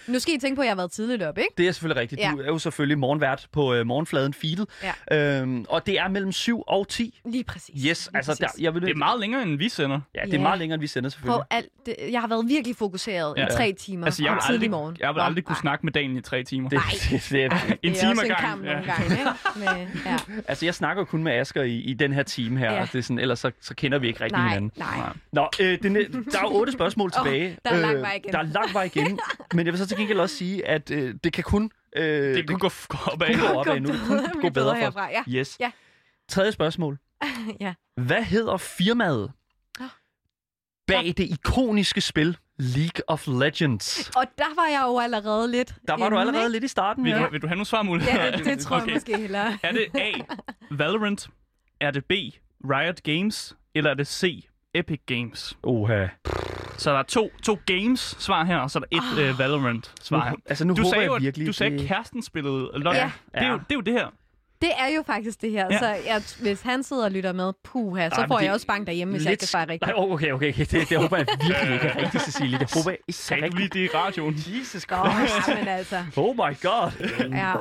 Nu skal I tænke på, at jeg har været tidligt op, ikke?
Det er selvfølgelig rigtigt. Ja.
Ja.
Du er jo selvfølgelig morgenvært på øh, morgenfladen feedet. Ja. Øhm, og det er mellem 7 og 10.
Lige præcis.
Yes,
Lige
altså der,
præcis.
jeg vil,
Det er meget længere, end vi sender.
ja, det er
Ja.
meget længere, end vi sender selvfølgelig.
Prøv alt det, jeg har været virkelig fokuseret
Ja.
i tre timer
Altså, jeg
og
vil
tidlig
aldrig,
morgen.
jeg vil
Nå,
aldrig kunne
nej.
snakke med Daniel i tre timer.
Det, det, det, er-
en
det er
time
også
ad gangen.
en kamp nogle gange, ikke? Med, ja.
altså, jeg snakker jo kun med Asger i, i den her time her. Ja.
Ja.
Det er sådan, ellers så, så kender vi ikke rigtig
Nej,
hinanden.
nej.
Nej.
Nå, øh, det, næ- der er jo otte spørgsmål
Åh,
tilbage. Øh,
der er lang vej igen.
Der er lang vej igen. Men jeg vil så til gengæld også sige, at øh, det kan kun... Øh,
Det,
det
kunne gå f- op ad.
kun gå op ad
Kom,
nu. Det
det
kan
bliver
kun gå
bedre
bedre for
herfra,
os.
ja.
Yes.
Ja.
Tredje spørgsmål.
ja.
Hvad hedder firmaet
Ah.
bag det ikoniske spil League of Legends?
Og der var jeg jo allerede lidt
Der var du
inde,
allerede
ikke?
lidt i starten.
Vil,
Ja.
du, vil du have nogle svarmuligheder?
Ja, det, det tror jeg måske hellere.
Er det A. Valorant? Er det B. Riot Games? Eller er det C. Epic Games?
Oha.
Så der er to, to games-svar her, og så er der et
Ah.
oh. uh, Valorant-svar her.
Altså, nu
Du
håber
sagde
jeg
jo, at-
virkelig...
du sagde, at
det-
kæresten spillede LOL.
Ja.
Det, er jo,
Ja.
det er jo det her.
Det er jo faktisk det her,
Ja.
ja. så jeg, hvis han sidder og lytter med, puha, så
Ej, men
får
det
jeg også bank derhjemme, hvis jeg ikke kan svare rigtigt.
Nej, åh, okay, okay. okay. Det, det håber jeg virkelig ikke er rigtigt, Cecilie. Det håber jeg ikke er
Sagde du lige
rigtigt.
det i radioen?
Jesus
Nå,
Christ.
ja, men altså.
Oh my god.
Ja.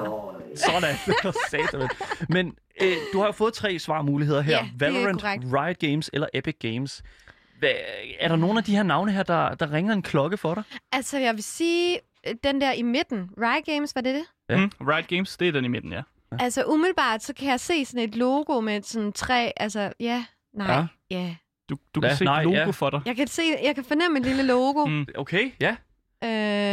Sådan. Satan. Men øh, du har jo fået tre svarmuligheder her.
Ja, det er
Valorant,
korrekt.
Riot Games eller Epic Games. Hva, er der nogen af de her navne her, der, der ringer en klokke for dig?
Altså, jeg vil sige, øh, den der i midten, Riot Games, var det det?
Ja.
Mm, Riot Games, det er den i midten, ja.
Altså, umiddelbart, så kan jeg se sådan et logo med sådan tre, altså, ja, nej,
Ja.
ja. ja.
Du, du kan
Ja,
se
nej,
et logo
ja.
for dig.
Jeg kan, se, jeg kan fornemme et lille logo.
Mm.
Mm.
Okay, ja.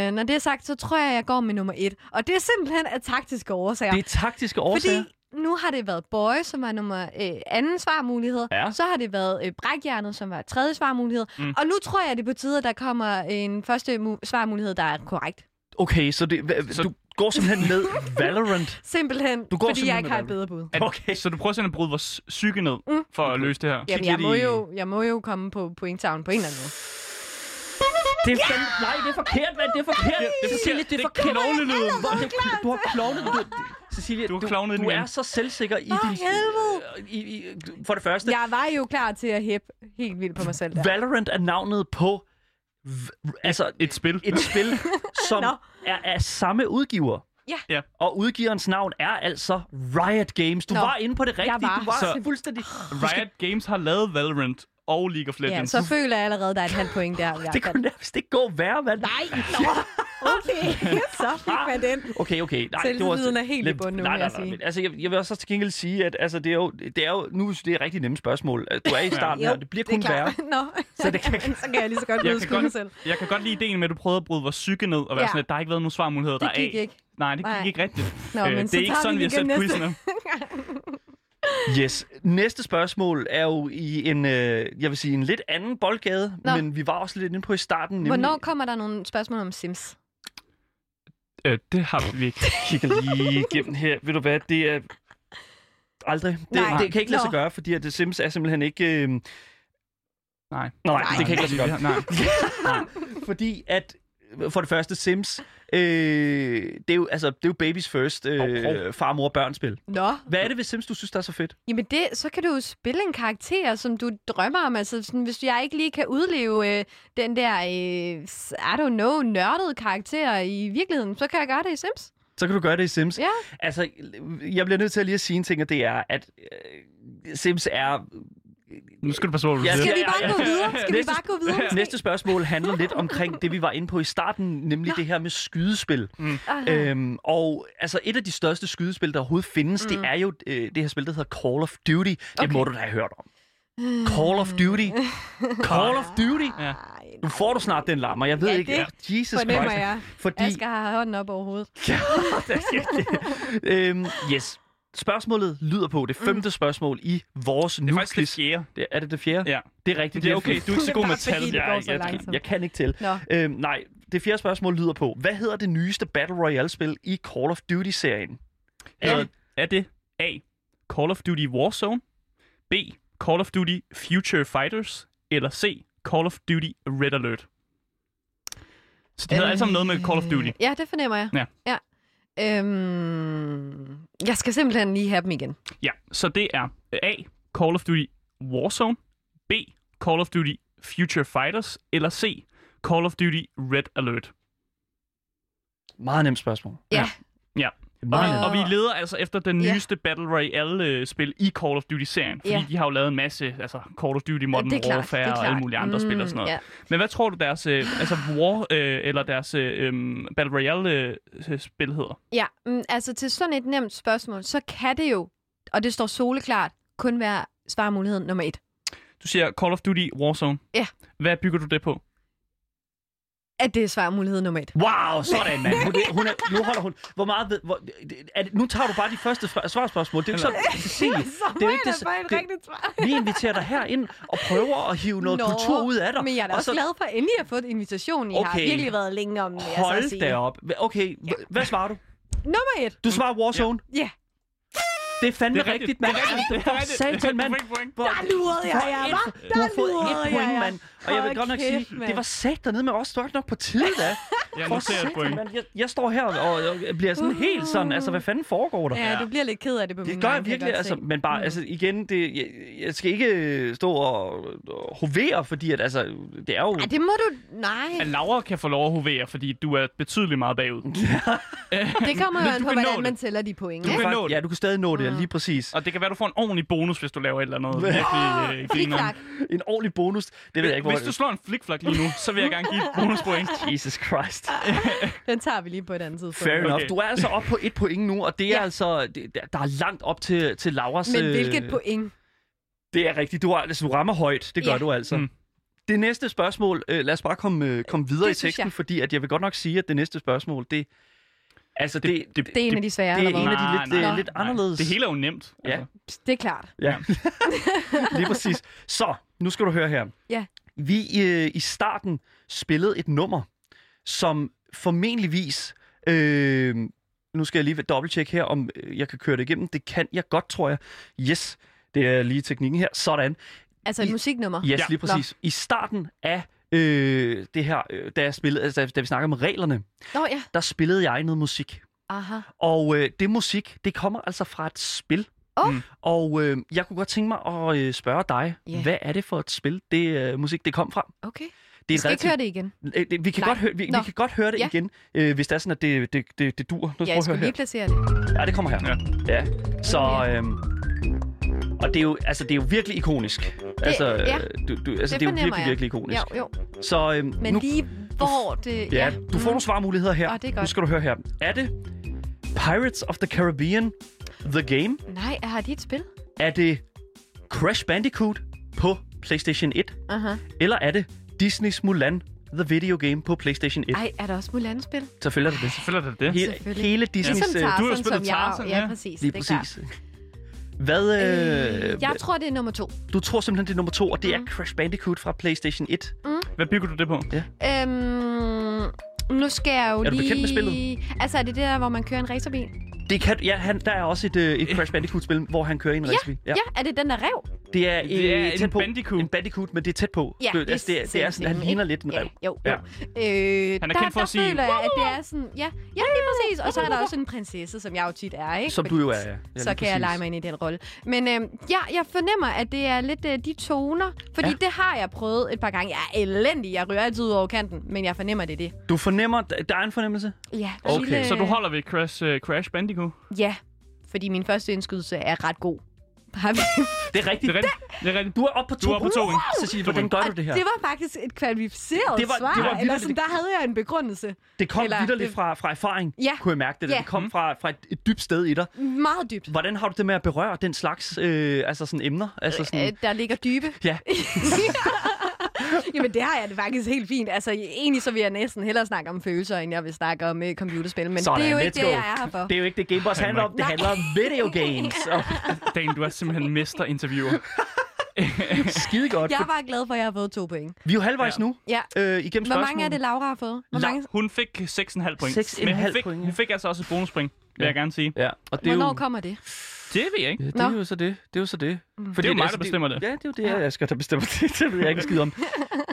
Øh, når det er sagt, så tror jeg, jeg går med nummer et. Og det er simpelthen af taktiske årsager.
Det er taktiske årsager.
Fordi nu har det været Bøje, som var nummer øh, anden svarmulighed.
Ja.
Så har det været øh, Brækhjernet, som var tredje svarmulighed.
Mm.
Mm. Og nu tror jeg, det på tide, at der kommer en første mu- svarmulighed, der er korrekt.
Okay, så, det, hva,
Så-
du går simpelthen med Valorant.
Simpelthen,
Du går
fordi
simpelthen
jeg ikke har et
med
bedre bud.
At,
Okay.
Så du prøver simpelthen at bryde vores psyke ned
Mm.
for at løse det her.
Jamen, jeg må, jo, jeg må jo komme på pointtavlen på en eller anden måde.
Det er fandme, nej, det er forkert, mand. Det er forkert.
Det er
Cecilie,
forkert.
det er
Det er
forkert.
klovnelyden.
Du har klovnet. Du, Cecilie,
Du
du,
har
du,
klovnet den
du er
igen.
så selvsikker i
Åh,
din...
helvede.
I, i, for det første,
Jeg var jo klar til at hæppe helt vildt på mig selv der.
Valorant er navnet på v- altså
Et spil.
et spil, som
Nå.
er af samme udgiver.
Ja.
Ja.
Og udgiverens navn er altså Riot Games. Du Nå.
Nå.
var inde på det rigtige.
var. Ah.
Du var
Så-
så... fuldstændig...
Riot Games har lavet Valorant og League of
Ja,
Legends.
så føler jeg allerede, der er et halvt point der. i hvert
Det
fald.
kunne nærmest ikke gå værre, mand.
Nej, nå. Okay, så fik man den.
Okay, okay. Nej,
Selvtilliden er helt i bunden nu,
nej,
vil
nej,
jeg
nej,
sige.
men, altså, jeg, jeg vil også til gengæld sige, at altså, det, er jo, det er jo... Nu det er rigtig nemme spørgsmål. Altså, Du er i starten her. Det bliver kun
det er klart.
værre.
Nå,
Så det kan-
Jamen, så kan jeg lige så godt
Jeg
blive
kan
skudt
godt-
mig selv.
Jeg kan godt lide ideen med, at du prøvede at bryde vores psyke ned og være
Ja.
sådan, at der har ikke været nogen svarmuligheder, der
Det
er
gik
A.
ikke.
Nej, det gik
Nej.
ikke rigtigt.
Nå,
Øh,
men
det er ikke sådan, vi har
lige
sat
igen
quizzen op.
Yes. Næste spørgsmål er jo i en, øh, jeg vil sige, en lidt anden boldgade,
Nå.
Nå. men vi var også lidt inde på i starten. Nemlig,
Hvornår kommer der nogle spørgsmål om Sims?
Øh, det har vi ikke.
kigger lige igennem her. Ved du hvad, det er aldrig. Det,
Nej.
det kan ikke lade sig
Nå.
gøre, fordi at The Sims er simpelthen ikke... Øh... Nej,
Nej.
nej, det kan ikke lade sig gøre.
Nej.
Fordi at, for det første, Sims, øh, det, er jo, altså, det er jo babies first
Hov,
øh, far, mor og børn spil.
Nå,
Hvad er det ved Sims, du synes, der er så fedt?
Jamen det, så kan du jo spille en karakter, som du drømmer om. Altså sådan, hvis jeg ikke lige kan udleve øh, den der, øh, s- I don't know, nørdede karakter i virkeligheden, så kan jeg gøre det i Sims.
Så kan du gøre det i Sims.
Ja.
Altså, jeg bliver nødt til at lige at sige en ting, og det er, at øh, Sims er...
Nu skal du passe på, hvad du
Jeg
siger.
Skal vi bare gå videre? Skal vi
Næste-
bare gå videre? måske?
Næste spørgsmål handler lidt omkring det, vi var inde på i starten, nemlig det her med skydespil.
øh,
Aha.
Øhm, og altså et af de største skydespil, der overhovedet findes, mm. det er jo øh, det her spil, der hedder Call of Duty. Det
Okay.
må du da have hørt om. Call of Duty. Call of Duty.
Ja.
Ej,
Nu får du snart den lammer. Jeg ved
Ja,
ikke.
det
Ja, Jesus
fornemmer
Christ.
jeg.
Fordi...
Asger har hånden op over hovedet.
øhm, yes. Spørgsmålet lyder på det femte
Mm.
spørgsmål i vores
Det er
nu
faktisk det fjerde.
det er det det fjerde?
Ja.
Det er
Det
rigtigt.
er okay, du er ikke så god med
Bare fordi
tal.
det går så
jeg,
langsomt.
Jeg kan ikke til.
Nå.
Øhm, nej, det fjerde spørgsmål lyder på. Hvad hedder det nyeste Battle Royale-spil i Call of Duty-serien?
Er,
Ja.
er det A. Call of Duty Warzone, B. Call of Duty Future Fighters, eller C. Call of Duty Red Alert? Så det hedder alle sammen noget med Call of Duty.
Ja, det fornemmer jeg.
Ja.
ja. Øhm, jeg skal simpelthen lige have dem igen.
Ja, så det er A. Call of Duty Warzone, B. Call of Duty Future Fighters, eller C. Call of Duty Red Alert.
Meget nemt spørgsmål.
Ja.
Ja.
Meget
Og-
nemt.
Og vi leder altså efter den
Ja.
nyeste Battle Royale-spil i Call of Duty-serien. Fordi
Ja.
de har jo lavet en masse, altså Call of Duty Modern
det er klart,
Warfare
det er
og
klart. Mm,
alle mulige andre spil og sådan noget.
ja.
Men hvad tror du deres øh, altså War øh, eller deres øh, øhm, Battle Royale øh, spil hedder?
Ja, mm, altså til sådan et nemt spørgsmål, så kan det jo, og det står soleklart, kun være svarmulighed nummer et.
Du siger Call of Duty Warzone.
Ja.
Hvad bygger du det på?
At det er svarmulighed nummer et.
Wow, sådan mand. Hun, hun er, nu holder hun... Hvor meget... ved- Hvor, er det, nu tager du bare de første svar- svarspørgsmål. Det er jo ikke sådan... Cecilie, det er jo ikke det, det,
svar.
vi inviterer dig herind og prøver at hive noget
Nå,
kultur ud af dig.
Men jeg er da
og
også
så-
glad for, at endelig at få invitationen. I okay. har
Okay.
virkelig været længe om det, jeg så at
Hold
sige.
da op. Hva- Okay, h- hvad svarer du?
Nummer et.
Du svarer Warzone.
Ja,
Det er fandme
Det er
rigtigt,
rigtigt,
mand.
det er rigtigt, det er rigtigt.
Satan, mand.
Point, point.
Hvor-
der lurede jeg jer, hva'?
et- Du
Der
har fået et
lurede jeg
point,
jer.
mand. Og jeg vil
Hold
godt nok
kæft,
sige,
mand.
det var sat dernede med os. Du var ikke nok på tide, da.
Jeg
For
noterer et
satan,
point.
mand. Jeg, jeg står her og og bliver sådan helt sådan, altså hvad fanden foregår der?
ja, du bliver lidt ked af det på
Det
min
gør
vej,
jeg
kan
virkelig,
godt
altså,
se.
men bare, altså igen, det, jeg, jeg skal ikke stå og, og hovere, fordi at, altså, det er jo...
Ej, det må du... Nej,
At Laura kan få lov at hovere, fordi du er betydeligt meget bagud.
det kommer jo
Men
an
du
på,
kan nå
hvordan
det.
man tæller de point.
Du
ikke?
kan
Fakt-
nå det.
Ja, du kan stadig nå det,
Mm.
lige præcis.
Og det kan være, du får en ordentlig bonus, hvis du laver et eller andet virkelig øh,
Friknak.
grineren.
En ordentlig bonus, det ved jeg ikke, hvor...
Hvis du slår en flikflak lige nu, så vil jeg gerne give et bonuspoint.
Jesus Christ.
Ah, Den tager vi lige på et andet tidspunkt.
Fair enough.
Okay.
Du er altså oppe på et point nu, og det er
Ja.
altså... Det, der- der er langt op til, til Lauras...
Men
øh,
hvilket point?
Det er rigtigt. Du, er, altså, du rammer højt. Det gør
Ja.
du altså.
Mm.
Det næste spørgsmål, øh, lad os bare komme, øh, komme videre
Det
i
synes
teksten,
jeg.
fordi at jeg vil godt nok sige, at det næste spørgsmål, det... Altså, det, det, det,
Det er en af de svære,
det er
eller
en
hvad?
af de lidt, øh, lidt anderledes.
Det hele er jo nemt. Altså,
Ja.
Det er klart.
Ja, lige præcis. Så, nu skal du høre her.
Ja.
Vi øh, i starten spillede et nummer, som formentligvis... Øh, nu skal jeg lige dobbelttjekke her, om øh, jeg kan køre det igennem. Det kan jeg godt, tror jeg. Yes, det er lige teknikken her. Sådan.
Altså et musiknummer.
Yes,
Ja.
ja. lige præcis. I starten af øh, det her, øh, da, jeg spillede, altså, da, da vi snakkede om reglerne,
Nå ja.
der spillede jeg noget musik.
Aha.
Og øh, det musik, det kommer altså fra et spil.
Åh.
Mm. Og øh, jeg kunne godt tænke mig at øh, spørge dig,
Ja.
yeah. hvad er det for et spil, det øh, musik, det kom fra?
Okay.
Det
Vi
er
skal ikke høre det igen.
relativt- Øh, det, vi, kan
Nej.
godt høre, vi, vi
Nå.
kan godt høre det
Ja.
igen, øh, hvis det er sådan, at det, det, det, det dur. Nu
Ja,
skal
jeg
jeg høre
skulle
her.
lige placere det.
Ja, det kommer her.
Ja.
ja. Så,
Ja.
øh, og det er, jo, altså, det er jo virkelig ikonisk. altså,
ja.
øh, du, du, altså, det,
Det
det er jo
fornemmer
virkelig,
jeg.
virkelig ikonisk.
Jo, jo.
Så øh,
Men
nu,
lige hvor det... Mm.
ja, du får nogle svarmuligheder her.
Åh, det er
Nu
godt.
skal du høre her. Er det Pirates of the Caribbean, The Game?
Nej, har de et spil?
Er det Crash Bandicoot på PlayStation 1?
Aha.
Eller er det Disney's Mulan The Video Game på PlayStation 1.
Ej, er der også Mulan-spil?
Så følger det det.
Selvfølgelig er det det.
Hele,
selvfølgelig.
hele
Ja, ligesom
Disneys... øh,
Tarzan,
du har spillet
som jeg...
Tarzan,
ja,
ja.
præcis.
lige
det er
præcis. Hvad...
klart.
Øh,
Jeg Mm. tror, det er nummer to.
Du tror simpelthen, det er nummer to, og det er Crash Bandicoot fra PlayStation 1.
Hvad bygger du det på?
Øhm, nu skal jeg jo
Er du
lige...
bekendt med
Altså, er det det der, hvor man kører en racerbil?
Det kan, ja, han, der er også et, øh, et Crash Bandicoot-spil, hvor han kører i en racerbil.
Ja. ja, er det den der rev?
Det er,
Det er
øh,
en
tæt på.
bandicoot.
En bandicoot, men det er tæt på.
Ja,
det, altså, det, er, det er sådan, han
ikke?
ligner lidt en rev.
Ja, jo,
Ja.
jo. Øh,
Han er
der,
kendt for
der
at sige,
føler jeg, at det er sådan... Ja, ja, lige præcis. Og så er der også en prinsesse, som jeg jo tit er, ikke?
Som du jo er, øh, ja. Ja, lige
så kan jeg
præcis.
lege mig ind i den rolle. Men øh, ja, jeg fornemmer, at det er lidt øh, de toner. Fordi
Ja.
ja. det har jeg prøvet et par gange. Jeg er elendig. Jeg rører altid ud over kanten. Men jeg fornemmer, det er det.
Du fornemmer, der der er en fornemmelse?
Ja,
Okay.
lille-
Så du holder ved Crash, uh, Crash Bandicoot?
Ja, fordi min første indskydelse er ret god. Har vi...
Det er
Det
rigtigt.
er rigtigt. Det er rigtigt.
Du er oppe på to.
Du er oppe på to, ikke?
Så siger, hvordan gør du det her?
det var faktisk et kvalificeret
Det var- det var
svar. eller
vitterligt-
sådan, der havde jeg en begrundelse.
Det kom
Eller
vidderligt
det-
fra, fra erfaring,
Ja.
kunne jeg mærke det. der.
Ja. Mm.
Det kom fra, fra et, et dybt sted i dig.
Meget dybt.
Hvordan har du det med at berøre den slags øh, altså sådan emner? Altså sådan,
Øh, der ligger dybe.
ja,
Jamen, det har jeg det faktisk helt fint. Altså, egentlig så vil jeg næsten hellere snakke om følelser, end jeg vil snakke om uh, computerspil. Men
sådan.
det er jo ikke
let's
det,
go.
jeg er her for.
Det er jo ikke det, Game Boys handler om. Det
Nej.
handler om video games. Og
Dan, du er simpelthen mesterinterviewer.
skide godt.
Jeg var glad for, at jeg har fået to point.
Vi er jo halvvejs nu
Ja.
øh, igennem
Hvor mange er det, Laura har fået? Hvor
La-
mange?
Hun fik 6,5 point.
Seks en
Men hun
halv
fik,
point, ja.
hun fik altså også et bonuspoint, vil
Ja.
jeg gerne sige.
Ja, og det er
Hvornår
jo...
kommer det?
Det ved jeg ikke.
Ja, det
Nå.
er jo så det. Det er jo så det. Fordi,
Det er jo mig, der bestemmer det.
Ja, det er jo det, jeg jeg skal der bestemmer det. Det ved jeg ikke en skid om.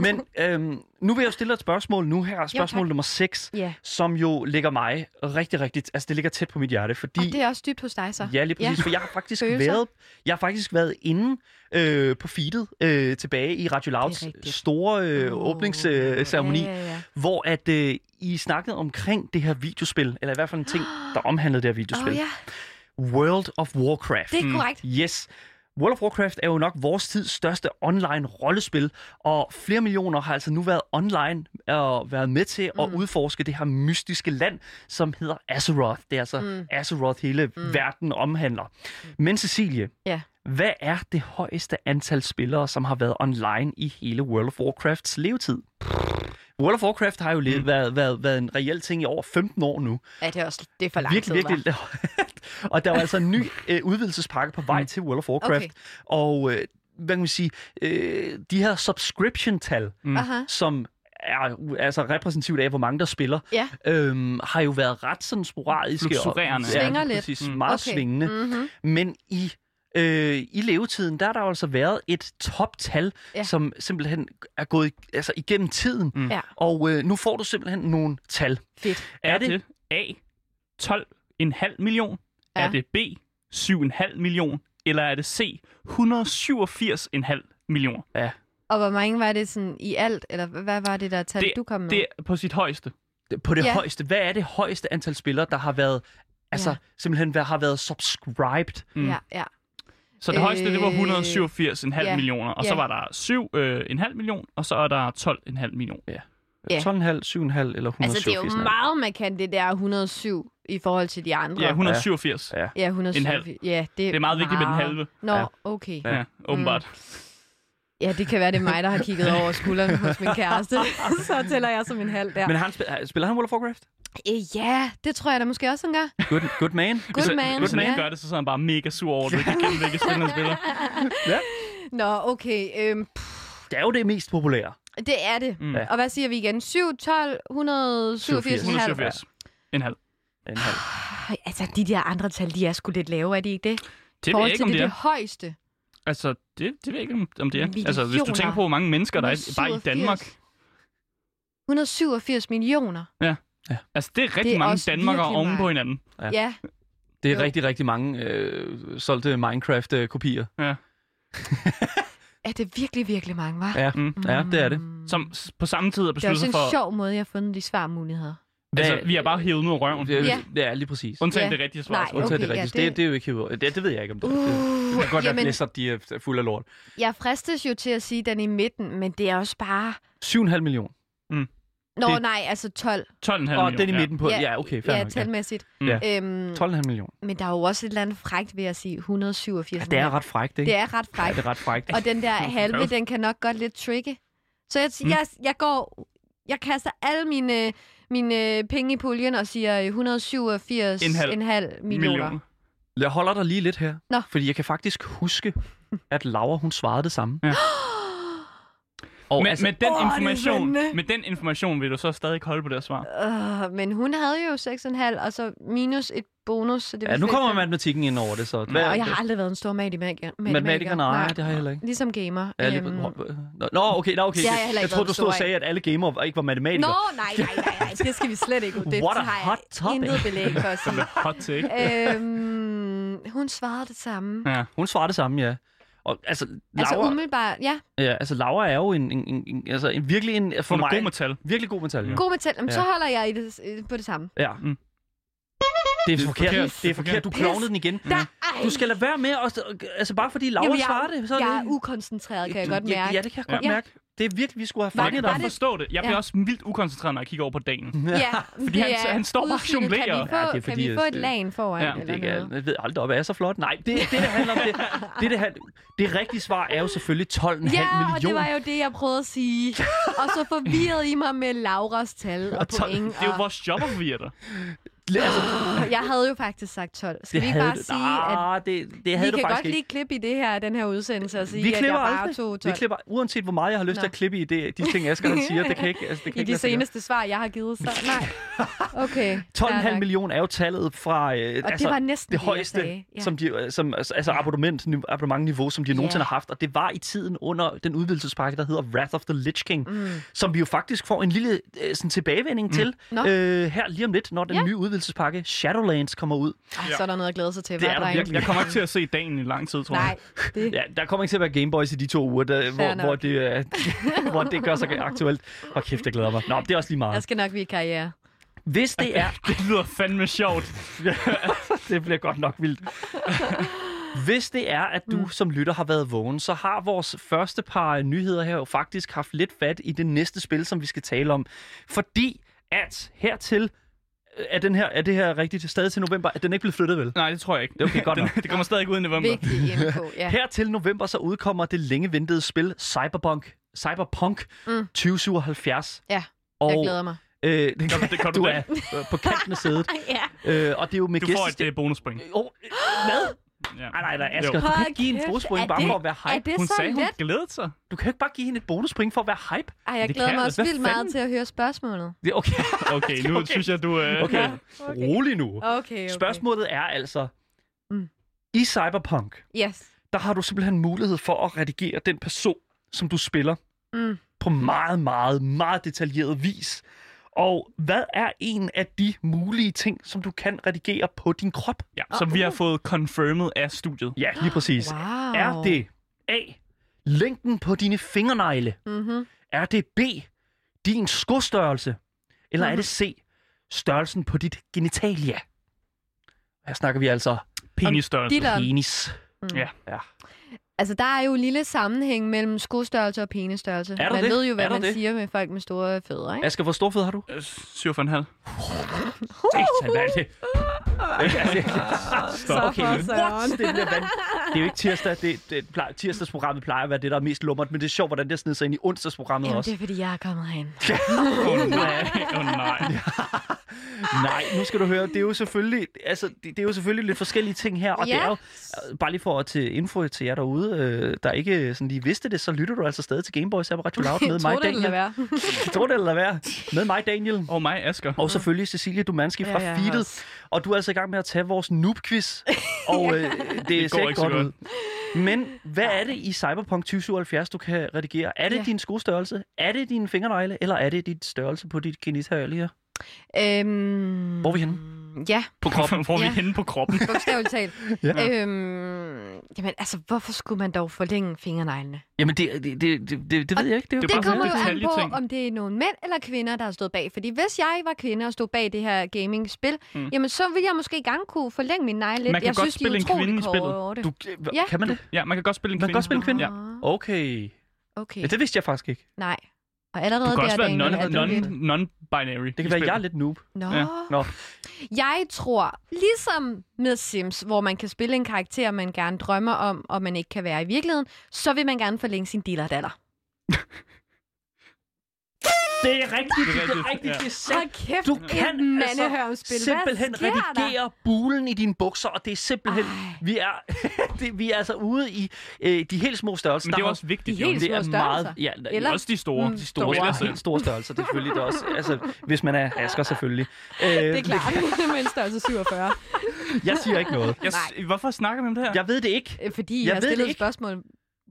Men øhm, nu vil jeg jo stille dig et spørgsmål nu her. Spørgsmål nummer 6,
Ja.
som jo ligger mig rigtig, rigtig... Altså, det ligger tæt på mit hjerte, fordi...
Og det er også dybt hos dig, så.
Ja, lige præcis, ja. for jeg har faktisk
Følelser.
været, jeg har faktisk været inde øh, på feedet øh, tilbage i Radio Louds
rigtigt.
store øh,
Åh.
åbningsceremoni, øh, ceremoni,
Ja, ja, ja.
hvor at øh, I snakkede omkring det her videospil, eller i hvert fald en ting, der omhandlede det her
Åh
videospil.
oh, ja,
World of Warcraft.
det er korrekt.
Yes. World of Warcraft er jo nok vores tids største online rollespil, og flere millioner har altså nu været online og været med til at mm. udforske det her mystiske land, som hedder Azeroth. Det er altså mm. Azeroth, hele mm. verden omhandler. Men Cecilie,
Ja.
hvad er det højeste antal spillere, som har været online i hele World of Warcrafts levetid? World of Warcraft har jo mm. været, været, været en reel ting i over 15 år nu.
Ja, det er, også, det er for lang
Virkelig,
tid, hva'? Mm.
virkelig. og der var altså en ny øh, udvidelsespakke på vej til World of Warcraft. Okay.
Okay.
Og øh, hvad kan man sige? Øh, de her subscription-tal, mm.
Aha.
som er altså repræsentativt af, hvor mange der spiller,
Ja.
øhm, har jo været ret sådan sporadiske.
Fluktuerende.
Ja,
Svinger
lige
lidt.
Præcis,
Mm.
meget
Okay.
svingende.
Mm-hmm.
Men i, øh, i levetiden, der har der jo altså været et toptal, ja.
Ja.
som simpelthen er gået altså, igennem tiden.
Mm.
Ja.
Og øh, nu får du simpelthen nogle tal.
Fedt.
Er
Er
det-
det A, 12,5 million?
Ja.
Er det B, 7,5 million? Eller er det C, 187,5 millioner?
Og hvor mange var det sådan i alt? Eller h- hvad var det der tal, du kom med?
Det er på sit højeste.
på det ja.
Ja.
højeste. Hvad er det højeste antal spillere, der har været, altså ja.
Ja.
simpelthen hvad har været subscribed?
Mm.
Ja, ja.
Så det højeste, det var
Øh,
187,5
ja,
millioner. Og så
ja.
var der 7,5 million, og så er der 12,5 million.
Ja.
12,5, 7,5 eller 187?
Altså, det er jo meget markant, det der 107 i forhold til de andre.
Ja, 187.
Ja.
Ja, 107.
En halv.
Ja, det,
Det er meget vigtigt med den halve.
Nå,
Ja.
okay.
Ja, åbenbart.
Ja, det kan være, det er mig, der har kigget over skulderen hos min kæreste. så tæller jeg som en halv der.
Men
Men...
han spiller, spiller han World of Warcraft?
Øh, ja, det tror jeg da måske også, han gør.
Good, good man.
Good man.
Hvis han ikke
ja.
gør det, så sidder han bare mega sur over, at du ikke kan kende, hvilke spil han spiller.
Nå, okay. Øhm, pff,
Det er jo det mest populære.
det er det.
Mm.
Mm. Og hvad siger vi igen? 7, 12, 187, 187.
187. En halv.
En halv.
Altså, de der andre tal, de er sgu lidt lavere, er de ikke det?
Det ved jeg
til
ikke, om
det,
det er.
det højeste.
Altså, det, det ved jeg ikke, om- om det er.
Millioner.
Altså, hvis du tænker på, hvor mange mennesker der er bare i
187.
Danmark.
187 millioner.
Altså, det er
Det
rigtig
er
mange
også
Danmarkere
virkelig
oven på
meget.
hinanden.
Ja.
Ja. ja.
Det er
Jo.
rigtig, rigtig mange øh, solgte Minecraft-kopier.
Ja.
Er det virkelig, virkelig mange, var?
Ja.
Mm.
ja, det er det.
Som s- på samme tid har
Det er
besluttet
også
sig
en
for...
sjov måde, jeg har fundet de svarmuligheder.
Altså, vi har bare hævet ud af røven.
Det,
Ja.
det er lige præcis.
Undtagen
Ja.
det rigtige svar.
Nej,
tror jeg.
Undtagen
Okay,
det
ja,
rigtige.
det- Uh,
det, det, er jo ikke hævet. Det, det ved jeg ikke om det. er. det det kan godt være, at
jamen-
læser, de er er fulde af lort.
Jeg fristes jo til at sige den i midten, men det er også bare...
7,5 millioner.
Nå,
Det-
det... nej, altså 12.
12,5 millioner.
Og den i
ja.
midten på.
Ja.
Ja, okay. Fair
Ja,
nok,
talmæssigt.
Mm.
Ja.
Øhm,
12,5 millioner.
men der er jo også et eller andet frægt ved at sige 187.
Ja, det er ret frækt, ikke?
det er ret
Ja,
frægt.
det er Mm. ret frækt.
Og den der halve,
Øv.
den kan nok godt lidt trigge. Så jeg, jeg, jeg går jeg kaster alle mine, mine penge i puljen og siger 187,5
En halv
millioner. millioner.
millioner.
Jeg holder dig lige lidt her,
Nå.
fordi jeg kan faktisk huske, at Laura hun svarede det samme.
Ja.
Og
Men,
altså,
med, den
Åh, det er
information,
spændende.
med den information vil du så stadig holde på det svar.
Uh, men hun havde jo 6,5, og så minus et bonus. Så det var
ja, nu
fem.
kommer matematikken ind over det, så...
Nå,
Og jeg har aldrig været en stor matematiker.
Matematiker, nej, det har jeg heller ikke.
Ligesom gamer.
Ja, lige...
Øhm,
Nå, Nå, okay, nå, okay.
Det har jeg heller
jeg troede,
ikke været
du
den
stod og
store af.
sagde, at alle gamere ikke var matematikere.
Nå, nej, nej, nej, nej, det skal vi slet ikke ud. Det
What a
har
hot
jeg
topic.
intet belæg for at sige.
Hot take.
øhm, hun svarede det samme.
Ja.
Hun svarer det samme, ja. Og altså, Laura,
Altså umiddelbart, ja.
ja, altså, Laura er jo en, en, en, en, altså, en virkelig en, for
Hun er
mig,
god med tal.
virkelig god metal. Ja.
God metal. Jamen, så
Ja.
holder jeg i det, i- på det samme.
ja.
Mm.
Det er forkert.
forkert.
Det er forkert. Du
Pis.
klovnede den igen.
Der, ej,
Du skal lade være med at... Altså, bare fordi Laura
Jamen, jeg,
svarer det, så er
jeg
det...
er ukoncentreret, kan jeg
Du-
godt mærke.
Ja, ja, det kan jeg godt
Ja.
mærke. Det er virkelig, vi skulle have
Var
Jeg
fanget
kan
var
dig.
godt
det-
forstå det. Jeg bliver
Ja.
også vildt ukoncentreret, når jeg kigger over på dagen.
Ja,
Fordi han- han står bare og jonglerer.
Kan vi få,
Ja, det er
kan
fordi,
vi få
at-
et lag foran?
Ja,
Ja, eller
Det kan,
noget?
jeg ved aldrig op, er jeg så flot? Nej, det, det, det handler om det. Det, det, handler, det rigtige svar er jo selvfølgelig 12,5
Ja, og det
millioner.
var jo det, jeg prøvede at sige. Og så forvirrede I mig med Lauras tal og point.
Det er jo
Og
vores job at forvirre dig.
Altså,
jeg havde jo faktisk sagt 12. Skal
det
vi ikke
havde
bare
du-
sige, at
Ah, det, det havde
vi
du
kan
faktisk
godt lige klippe i det her, den her udsendelse og sige,
Vi
at jeg
klipper
bare
aldrig.
tog 12
Vi klipper, uanset hvor meget jeg har lyst
Nå.
til at klippe i det, de ting, Asger han siger. Det kan ikke, altså, det kan
i
ikke
de
lade sig gøre.
seneste svar, jeg har givet. Så nej. Okay. fair
12,5
nok.
millioner er jo tallet fra øh,
Og det var næsten
det
det, jeg
højeste,
sagde. Ja.
som de, øh, som, altså altså abonnement, abonnementniveau, som de nogensinde har haft. Og det var i tiden under den udvidelsespakke, der hedder Wrath of the Lich King, mm. som vi jo faktisk får en lille øh, sådan tilbagevending mm. til
Nå.
øh, her lige om lidt, når den
Ja.
nye udvidelsespakke Shadowlands kommer ud.
Ej, så er der noget at glæde sig til.
Det
hva',
er der
drenge?
virkelig.
Jeg kommer ikke til at se dagen i lang tid, tror jeg.
Nej, det
Ja, der kommer ikke til at være Gameboys i de to uger, der, hvor,
nok.
hvor, det, øh, hvor det gør sig aktuelt. Og kæft, jeg glæder mig. Nå, det er også lige meget.
jeg skal nok blive karriere.
Hvis det er
Det lyder fandme sjovt.
det bliver godt nok vildt. Hvis det er, at du mm. som lytter har været vågen, så har vores første par øh, nyheder her jo faktisk haft lidt fat i det næste spil, som vi skal tale om. Fordi at hertil, øh, er, den her, er det her rigtigt stadig til november? Er den ikke blevet flyttet, vel?
Nej, det tror jeg ikke.
Okay, godt nok.
Den, det kommer stadig ud i november.
Vigtig info, ja.
Her til november så udkommer det længe ventede spil Cyberpunk, Cyberpunk mm. 2077.
Ja,
og,
Jeg glæder mig.
Øh, det
Kom, det- kom du
du
den?
er øh, på kanten af sædet.
Ja.
øh, og det er jo med
Du får et
gæstestemme-
øh, bonuspoint.
Åh, øh, Hvad?
Ja.
Nej, nej, nej, Asger,
Jo.
du kan ikke give en bonuspoint bare for at være hype.
Er det
Hun
så
sagde, hun
let?
glædede sig.
Du kan jo ikke bare give hende et bonuspoint for at være hype.
Ej, jeg
Det
glæder
kan
mig
jeg.
også
Hvad
vildt meget
fanden?
til at høre spørgsmålet.
Det, okay,
Okay, nu
Okay.
synes jeg, du... Øh,
okay.
okay.
Rolig nu.
Okay, okay.
Spørgsmålet er altså,
Mm.
i Cyberpunk,
Yes.
der har du simpelthen mulighed for at redigere den person, som du spiller,
Mm.
på meget, meget, meget detaljeret vis. Og hvad er en af de mulige ting, som du kan redigere på din krop?
Ja, som vi har fået confirmed af studiet.
Ja, lige præcis.
Wow.
Er det A. Længden på dine fingernegle?
Mm-hmm.
Er det B, din skostørrelse? Eller
Mhm.
er det C, størrelsen på dit genitalia? Her snakker vi altså
Mm.
Penisstørrelse.
Dilleren.
penis.
Mm. Altså, der er jo en lille sammenhæng mellem skostørrelse og penestørrelse.
der
man
det?
ved jo, hvad
Er der
man
det?
siger med folk med store fødder, ikke?
Asger, hvor stor fed har du?
Øh, Syv for en halv.
Satan, hvad er det? Okay,
for
what?
søren.
Det, bliver vand... det er jo ikke tirsdag. Det, det, plejer, tirsdagsprogrammet plejer at være det, der er mest lummert, men det er sjovt, hvordan det har snedet sig ind i onsdagsprogrammet
Jamen,
også.
det er, fordi jeg er kommet herind.
Åh oh, nej, åh oh, nej.
Nej, nu skal du høre, det er jo selvfølgelig, altså, det, det er jo selvfølgelig lidt forskellige ting her, og
Ja.
det er jo, bare lige for at til info til jer derude, øh, der ikke sådan lige vidste det, så lytter du altså stadig til Gameboys her på Radio Loud med mig,
Tror det, eller
Daniel.
hvad?
Tror det eller være. Med mig, Daniel.
Og mig, Asger.
Og selvfølgelig Cecilie Dumanski fra
Mm. Ja, ja,
Feedet.
også.
Og du er altså i gang med at tage vores noob-quiz. Og øh, det, ser
går
ikke
ikke så
godt ud. Men hvad er det i Cyberpunk 2077, du kan redigere? Er det
Ja.
din skostørrelse? Er det dine fingernegle? Eller er det din størrelse på dit genitalia?
Øhm...
Hvor er vi henne?
Ja,
På kroppen. Hvor er vi
Ja.
henne på kroppen?
bogstaveligt talt.
Ja.
Øhm... Jamen, altså, hvorfor skulle man dog forlænge fingerneglene?
Jamen, det, det, det, det, det ved jeg ikke. Det er jo
Det
Det
bare
kommer jo
sådan en
an på,
detaljeting.
om det er nogle mænd eller kvinder, der har stået bag. Fordi hvis jeg var kvinde og stod bag det her gaming-spil,
Mm.
mm. jamen så ville jeg måske gerne kunne forlænge min negle lidt.
Man kan
jeg
godt
synes,
spille
de
en
er utrolig
kvinde i spillet.
korte.
Du, ja.
Ja.
Kan man det?
Ja, man kan godt spille en
Man
kvinde.
kan godt spille en kvinde?
Ja.
Okay.
Ah, Okay.
Ja, det vidste jeg faktisk ikke.
Nej. Og
Du
allerede
kan
der,
også være
Daniel,
non-
er du lidt-
non- non-binary.
Det kan være, jeg er lidt noob.
Nå.
Ja.
Nå.
Jeg tror, ligesom med Sims, hvor man kan spille en karakter, man gerne drømmer om, og man ikke kan være i virkeligheden, så vil man gerne forlænge sin dillerdaller.
Det er rigtigt, det er rigtigt, det er,
rigtigt,
rigtigt,
ja.
det er
Hold
sandt.
kæft,
Du kan
et
altså
mandehørmspil. Hvad
simpelthen
sker der?
redigere bulen i dine bukser, og det er simpelthen,
Ej.
vi er, det, vi er altså ude i øh, de helt små størrelser.
Men det
Der
er
har-
også vigtigt,
De
jo.
helt
det er
små
meget,
størrelser.
ja,
Eller-
Også de store.
Mm,
de
store.
store.
store,
Ellers,
altså.
øh,
helt store størrelser, det er selvfølgelig det også. Altså, hvis man er asker, selvfølgelig. Øh,
Det er klart, med en størrelse 47.
Jeg siger ikke noget.
Jeg, s- hvorfor snakker vi om det her?
Jeg ved det ikke.
Øh, Fordi jeg,
Jeg ved
har
det
stillet et
ikke.
spørgsmål,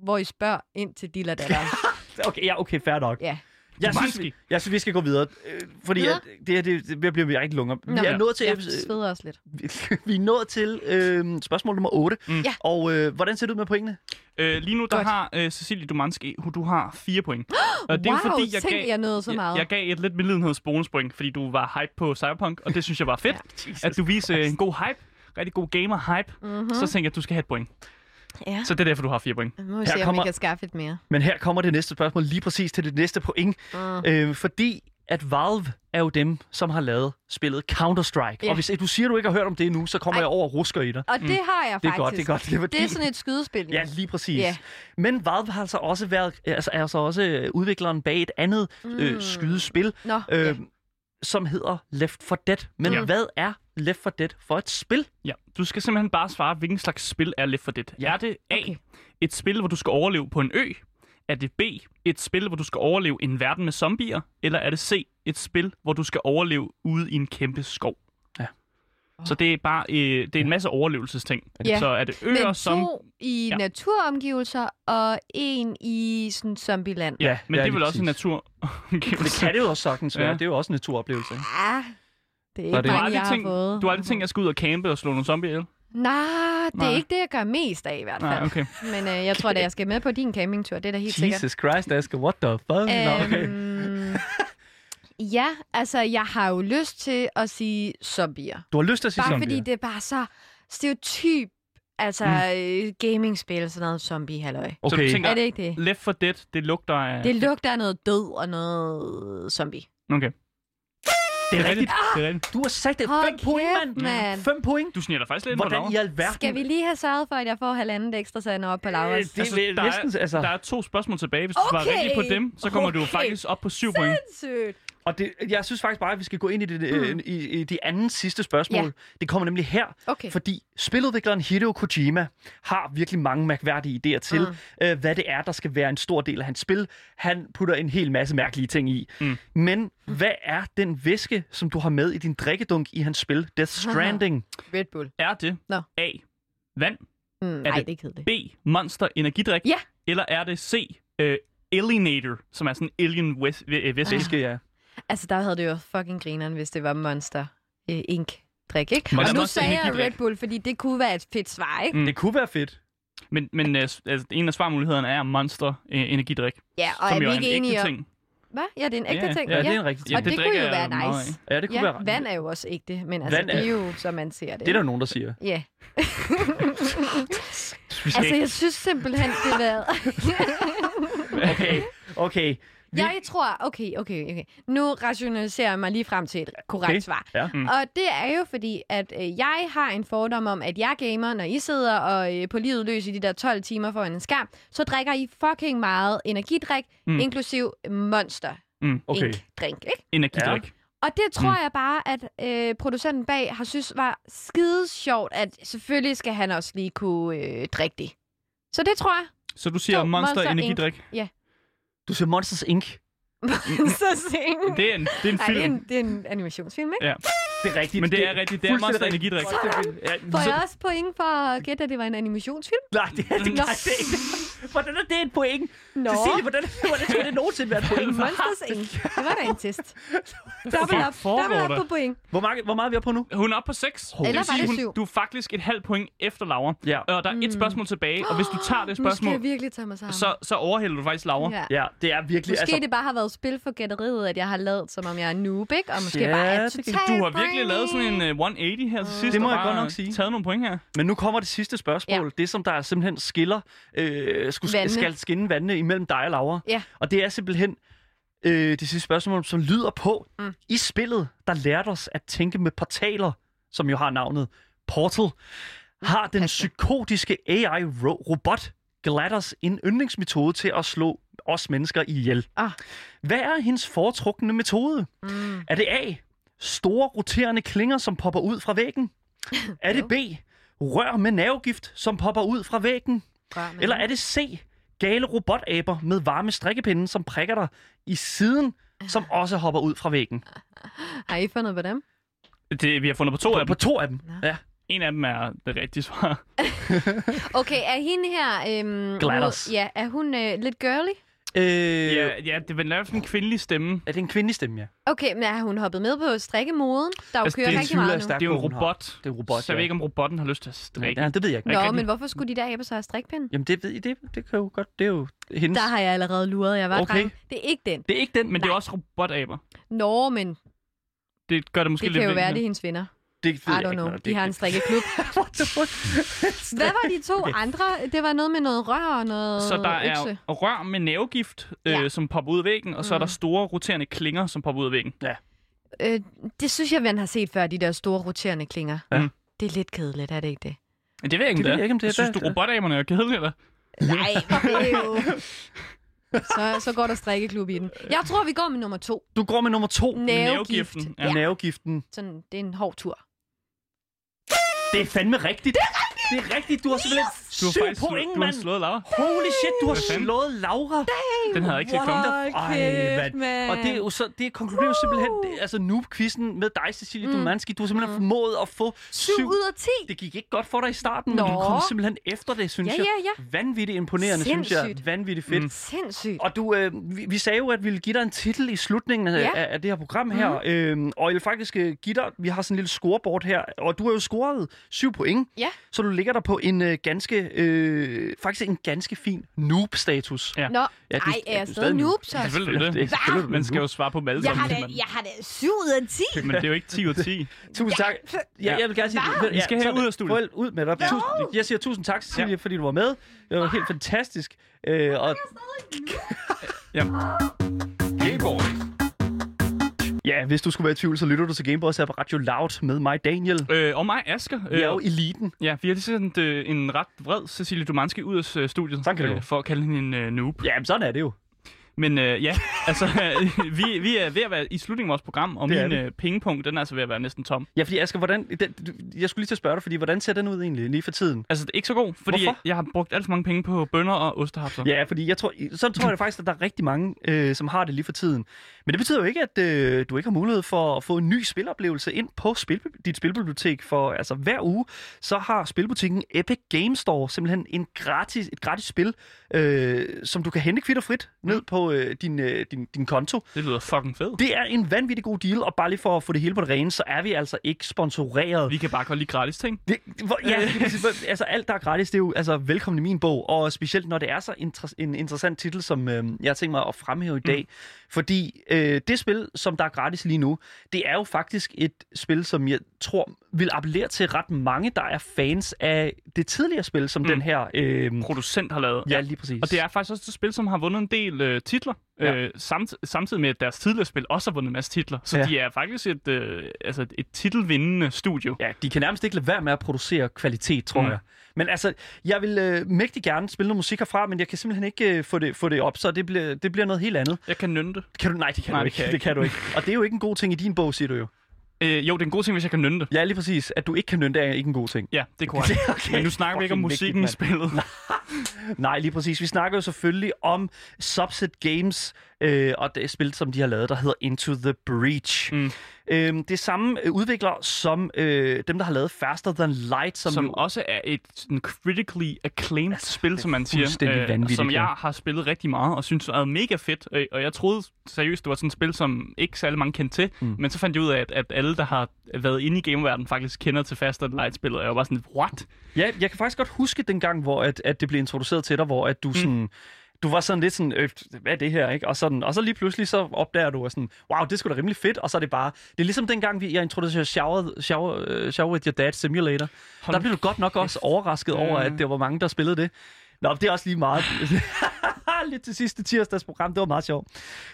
hvor I spørger ind til de datter.
Okay, ja, okay, fair nok.
Ja.
Jeg synes,
Måske.
vi, jeg synes, vi skal gå videre, øh, fordi
Videre?
at, det her det, det bliver vi rigtig lunger. Vi
Nå,
er
ja.
nået til,
Jeg
øh,
sveder også lidt.
vi er nået til øh, spørgsmål nummer 8.
Mm.
Ja.
Og øh, hvordan ser det ud med pointene?
Øh, lige nu, der
Godt.
har øh, Cecilie Dumanski, hu- du har fire point. Og
wow, tænk, jeg nåede så meget.
Jeg, jeg gav et lidt medlidenhedsbonuspoint, fordi du var hype på Cyberpunk, og det synes jeg var fedt, ja, at du viser øh, en god hype, rigtig god gamer-hype. Mm-hmm. Så tænker jeg, at du skal have et point.
Mhm. Ja.
Så det er derfor, du har fire point.
Nu må
Her
vi se, om
kommer-
vi kan skaffe et mere.
Men her kommer det næste spørgsmål lige præcis til det næste point.
Mm.
Øh, fordi at Valve er jo dem, som har lavet spillet Counter-Strike.
Ja.
Og hvis øh, du siger, du ikke har hørt om det endnu, så kommer
Ej.
jeg over og rusker i dig.
Og det har jeg
Mm. Det er
faktisk.
godt, det er godt. Det er, fordi...
Det er sådan et skydespil.
Ja, lige præcis.
Ja.
Men Valve har altså også været, altså, er altså også øh, udvikleren bag et andet mm. øh, skydespil,
Nå,
øh,
ja.
som hedder Left 4 Dead. Men
Ja.
ja. hvad er Left 4 Dead for et spil?
Ja. Du skal simpelthen bare svare, hvilken slags spil er lidt for det. Ja. Er det A,
Okay.
et spil, hvor du skal overleve på en ø? Er det B, et spil, hvor du skal overleve en verden med zombier? Eller er det C, et spil, hvor du skal overleve ude i en kæmpe skov?
Ja.
Så det er bare øh, det er en masse overlevelsesting.
Ja.
Så er det øer,
Men to
som...
i
Ja.
naturomgivelser, og en i sådan zombieland.
Ja,
ja,
men det er
lige
vel også en natur.
Det kan det jo også sagtens være. Ja.
Ja.
Det er jo også en naturoplevelse. ikke?
Ja, Ah, det er
Nå, det
ikke
er-
Du har
mange, jeg
aldrig
har
tænkt,
fået.
du har aldrig tænkt, at jeg skal ud og campe og slå nogle zombier ihjel?
Nej, det er
Nej.
ikke det, jeg gør mest af i hvert fald.
Nej, okay.
Men øh, jeg tror, at jeg skal med på din campingtur. Det er da helt sikkert.
Jesus Christ, Asger, what the fuck? Øhm... Nå, okay.
Øhm, ja, altså, jeg har jo lyst til at sige zombier.
Du har lyst til at sige
Bare
zombier.
fordi det er bare så stereotyp, altså mm. gamingspil, sådan noget zombie, halløj.
Så du
Okay.
tænker,
Er det ikke det?
Left for Dead, det lugter af...
Det lugter af noget død og noget zombie.
Okay.
det er rigtigt.
Det er rigtigt.
Du har sagt det.
Hold
Fem point, mand.
kæft, mand.
Fem point.
Du sniger dig faktisk lidt ind på
Hvordan i
Laura.
alverden?
Skal vi lige have sørget for, at jeg får halvandet ekstra sander op på
Øh,
Lauras?
det altså, er
der er-
næsten, altså,
Der er to spørgsmål tilbage. Hvis du okay.
Okay.
svarer rigtigt på dem, så kommer okay. du
Okay.
faktisk op på syv point.
Sindssygt.
og det, jeg synes faktisk bare, at vi skal gå ind i det, mm. i, i det andet sidste spørgsmål.
Ja.
Det kommer nemlig her,
Okay.
fordi spiludvikleren Hideo Kojima har virkelig mange mærkværdige idéer til, mm. øh, hvad det er, der skal være en stor del af hans spil. Han putter en hel masse mærkelige ting i. Mm. Men hvad er den væske, som du har med i din drikkedunk i hans spil Death Stranding?
Red Bull.
Er det
Nå.
A. Vand,
Mm, nej,
det-
det er kedeligt.
B. Monster Energidrik,
Ja.
eller er det C. Uh, Alienator, som er sådan en alien ves- ve- øh, væske.
Væske, ja.
Altså, der havde det jo fucking grineren, hvis det var Monster øh, Inc. drik, ikke?
Monster-
og nu
Monster
sagde jeg
Energy-drik.
Red Bull, fordi det kunne være et fedt svar, ikke?
Mm.
Det kunne være fedt.
Men, men øh, s- altså, en af svarmulighedederne er Monster øh, Energidrik,
Ja, og
som
er
jo
vi
er en
ikke enige
ægte
om...
ting.
Hvad? Ja, det er en ægte
Ja,
ting.
Ja, det er en rigtig
Ja,
og
ting.
det
det, det kunne
drikker
jo
jeg
være
meget
nice.
af.
Ja, det kunne
ja,
være...
vand er jo også ægte, men altså,
Vand
det er jo, som man ser det.
Det er der nogen, der siger.
Ja.
Vi skal
Altså,
ikke-
jeg synes simpelthen, det har været...
Okay, okay. Vi-
Jeg tror, okay, okay, okay. Nu rationaliserer jeg mig lige frem til et korrekt
Okay.
okay. svar.
Ja.
Mm. Og det er jo fordi, at øh, jeg har en fordom om, at jeg gamer, når I sidder og øh, på livet løs i de der 12 timer foran en skærm, så drikker I fucking meget energidrik, mm. inklusiv monster
Mm,
Okay.
Inc. drink, ikke?
Energidrik.
Og det tror mm. jeg bare, at øh, producenten bag har synes var skide sjovt, at selvfølgelig skal han også lige kunne øh, drikke det. Så det tror jeg.
Så du siger
To
Monster,
Monster
Monster
Inc.
Energidrik.
Du siger Monsters Inc.
så sent.
Det er en, det er en
Nej, det er
film.
en, det er en animationsfilm, ikke?
Ja.
Det er rigtigt.
Men det er rigtigt. Det er Monster Energidrik.
Får jeg også point for at gætte, at det var en animationsfilm?
Nej, det er det,
Nå.
nej, det er ikke. Hvordan er det et point?
Nå,
Cecilie, hvordan, hvordan skulle det nogensinde være et point?
Monsters Inc. Det var da en test. Double
Fuck,
up,
foregår
double
der?
up på point.
Hvor, mange, hvor meget er vi oppe på nu?
Hun er oppe på 6.
Eller var det syv?
du er faktisk et halvt point efter Laura.
Ja.
Og der er et spørgsmål tilbage, og hvis du tager det
Mm. Nu skal jeg
spørgsmål,
virkelig tage mig sammen.
så, så overhælder du faktisk Laura.
Ja.
Ja, det er virkelig...
Måske
altså,
det bare har været spil for gætteriet, at jeg har lavet, som om jeg er noob, ikke? Og måske
Ja,
bare er
det kan-
totalt
Du har virkelig lavet sådan en øh, 180 her til sidst.
Det må
og
jeg
bare
godt nok sige.
taget nogle point her.
Men nu kommer det sidste spørgsmål. Ja.
Ja.
Det, som der simpelthen skiller, øh, skulle,
Vandene.
skal skinne vandene imellem dig og Laura.
Ja.
Og det er simpelthen øh, det sidste spørgsmål, som lyder på. Mm. I spillet, der lærte os at tænke med portaler, som jo har navnet Portal, har den psykotiske AI-robot GLaDOS en yndlingsmetode til at slå os mennesker ihjel.
Ah.
Hvad er hendes foretrukne metode?
Mm.
Er det A. Store roterende klinger, som popper ud fra væggen? Er det B. Rør med nervegift, som popper ud fra væggen?
Rør med
Eller
den.
er det C. Gale robotaber med varme strikkepinde, som prikker dig i siden, som også hopper ud fra væggen?
Har I fundet på dem?
Det, vi har fundet på to
På,
af
på
dem.
to af dem. Ja.
En af dem er det rigtige svar.
Okay, er hende her... Øhm,
Gladys.
Ud, ja, er hun øh, lidt girly?
Øh,
Ja, ja det er vel nærmest en kvindelig stemme.
Er det en kvindelig stemme, ja?
Okay, men er hun hoppet med på strikkemoden? Der
Altså,
jo altså, kører
det
rigtig
tvivler jeg
meget nu.
stærkt.
Det er jo en
hun har.
robot.
Det er en robot,
Så jeg
ja.
ved ikke, om robotten har lyst til at strikke.
Ja, det ved jeg ikke.
Jeg
Nå,
kan-
men hvorfor skulle de der æber så have strikpind?
Jamen, det, ved I, det, det kan jo godt. Det er jo hendes.
Der har jeg allerede luret, jeg var
Okay.
okay. dreng. Det er ikke den.
Det er ikke den,
Men
men
det er også robotaber.
Nå, men det,
Det gør det måske lidt
kan jo være, det er
vigtigere.
hendes venner.
det
I
ved jeg
don't
ikke.
know.
noget.
De har en strikkeklub.
What the fuck?
Hvad var de to andre? Det var noget med noget rør og noget
Så der er
økse.
rør med nervegift, øh,
Ja. Mm.
som popper ud af væggen, og så er der store roterende klinger, som popper ud af væggen.
Øh, det synes jeg, man har set før, de der store roterende klinger.
Ja.
Det er lidt kedeligt, er det ikke det?
Men det ved jeg ikke,
Det ved jeg ikke, om det er
Synes
det.
du, robotaberne er kedelige, eller?
Nej, det er jo... Så, så går der strikkeklub i den. Jeg tror, vi går med nummer to.
Du går med nummer to.
Nervegift.
Nervegiften, ja.
Ja. Nervegiften.
Sådan, det er en hård tur.
Det er fandme rigtigt. Det er rigtigt. Det er rigtigt. Du har simpelthen
Du har
syv
faktisk slået-
point,
du har
mand.
slået Laura.
Holy shit, du har
Hvad fanden?
slået Laura.
Den havde jeg ikke set komme.
Ej, mand. Og det, er jo så, det konkluderer jo simpelthen, det, altså noob-quizzen med dig, Cecilie mm. Dumanski, du har simpelthen mm. formået at få syv.
7 ud af 10.
Det gik ikke godt for dig i starten, men du
Nå.
kom simpelthen efter det, synes
Ja,
jeg.
ja,
Vanvittigt imponerende, synes jeg.
Sindssygt.
Vanvittigt fedt. Mm.
Sindssygt.
Og du, øh, vi, vi sagde jo, at vi ville give dig en titel i slutningen af,
Ja. Mm-hmm.
af, af det her program her. Øh, og jeg vil faktisk øh, give dig, vi har sådan en lille scoreboard her, og du har jo scoret syv point.
Ja.
Så du ligger der på en øh, ganske, øh, faktisk en ganske fin noob-status.
Ja.
Nå,
Ja,
ja,
du-
ej,
ja,
er jeg
du er
stadig
stadig
noob, så?
Selvfølgelig er det.
er selvfølgelig
Man skal jo svare på mad.
Jeg har da,
men,
jeg har da 7 ud af 10.
men det er jo ikke 10 ud af 10.
Tusind tak. Ja, jeg vil gerne sige,
Hva? Vi skal have ud af studiet.
Prøv, ud med dig. Tusind, jeg siger tusind tak, Cecilie,
Ja.
ja. fordi du var med. Det var helt fantastisk. Øh, og
Gameboy.
ja, hvis du skulle være i tvivl, så lytter du til Gameboys her på Radio Loud med mig, Daniel.
Øh, og mig, Asger.
Vi er jo eliten.
ja, vi har lige sendt øh, en ret vred Cecilie Dumanski ud af øh, studiet.
Tak kan du.
øh, For at kalde hende en øh, noob.
Ja, men sådan er det jo.
Men øh, ja, altså, vi, vi er ved at være i slutningen af vores program, og
Det er
min
vi.
øh, pengepunkt, den er altså ved at være næsten tom.
Ja, fordi Asger, hvordan... Den, du- jeg skulle lige til at spørge dig, fordi hvordan ser den ud egentlig lige for tiden?
Altså, det er ikke så god, fordi jeg,
Hvorfor?
jeg har brugt alt for mange penge på bønder og ostehapser.
Ja, fordi jeg tror, så tror jeg faktisk, at der er rigtig mange, øh, som har det lige for tiden. Men det betyder jo ikke, at øh, du ikke har mulighed for at få en ny spiloplevelse ind på spil, dit spilbibliotek. For altså, hver uge, så har spilbutikken Epic Game Store simpelthen en gratis, et gratis spil, øh, som du kan hente kvitt og frit ned på øh, din, øh, din, din konto.
Det lyder fucking fedt.
Det er en vanvittig god deal, og bare lige for at få det hele på det rene, så er vi altså ikke sponsoreret.
Vi kan bare godt lide gratis ting.
Det, det- hvor, ja, det vil sige, altså alt, der er gratis, det er jo altså, velkommen i min bog. Og specielt, når det er så inter- en interessant titel, som øh, jeg har tænkt mig at fremhæve i dag.
Mm.
Fordi øh, det spil, som der er gratis lige nu, det er jo faktisk et spil, som jeg tror vil appellere til ret mange, der er fans af det tidligere spil, som
Mm.
den her... Øh,
Producent har lavet.
ja, lige præcis.
Og det er faktisk også et spil, som har vundet en del øh, titler,
Ja.
øh, samt, samtidig med, at deres tidligere spil også har vundet en masse titler. Så
Ja.
de er faktisk et, øh, altså et, et titelvindende studio.
Ja, de kan nærmest ikke lade være med at producere kvalitet, tror
Mm.
mm. jeg. Men altså, jeg vil øh, mægtig gerne spille noget musik herfra, men jeg kan simpelthen ikke øh, få, det, få det op, så det bliver, det bliver noget helt andet.
Jeg kan nynde det.
Kan du? Nej, det kan
Nej,
du
det
ikke.
kan jeg
det kan du ikke. Og det er jo ikke en god ting i din bog, siger du jo.
Øh, jo, det er en god ting, hvis jeg kan nynde det.
Ja, lige præcis. At du ikke kan nynde, det er ikke en god ting.
Ja, det er korrekt.
Okay.
Men nu snakker vi ikke om
Fucking vigtigt,
musikken i
mand.
spillet.
Nej, lige præcis. Vi snakker jo selvfølgelig om Subset Games øh, og det spil, som de har lavet, der hedder Into the Breach.
Mm.
Øhm, det er samme øh, udvikler som øh, dem, der har lavet Faster Than Light, som,
Som, som
jo-
også er et sådan critically acclaimed altså, spil, som man siger,
fuldstændig
og
vanvittigt,
som
ja.
jeg har spillet rigtig meget og synes er mega fedt. Øh, og jeg troede seriøst, det var sådan et spil, som ikke særlig mange kendte til, mm. men så fandt jeg ud af, at, at alle, der har været inde i gameverdenen, faktisk kender til Fast and Light-spillet, og jeg var sådan, what?
Ja, jeg kan faktisk godt huske den gang, hvor at, at det blev introduceret til dig, hvor at du sådan... Du var sådan lidt sådan, øh, hvad er det her, ikke? Og, sådan, og så lige pludselig så opdager du og sådan, wow, det skulle sgu da rimelig fedt, og så er det bare... Det er ligesom dengang, vi, jeg introducerede Shower, Shower, øh, Shower with Your Dad Simulator.
Hold
der blev du godt nok også overrasket over, at
Øh.
der var mange, der spillede det. Nå, det er også lige meget... lidt til sidste tirsdags program. Det var meget sjovt.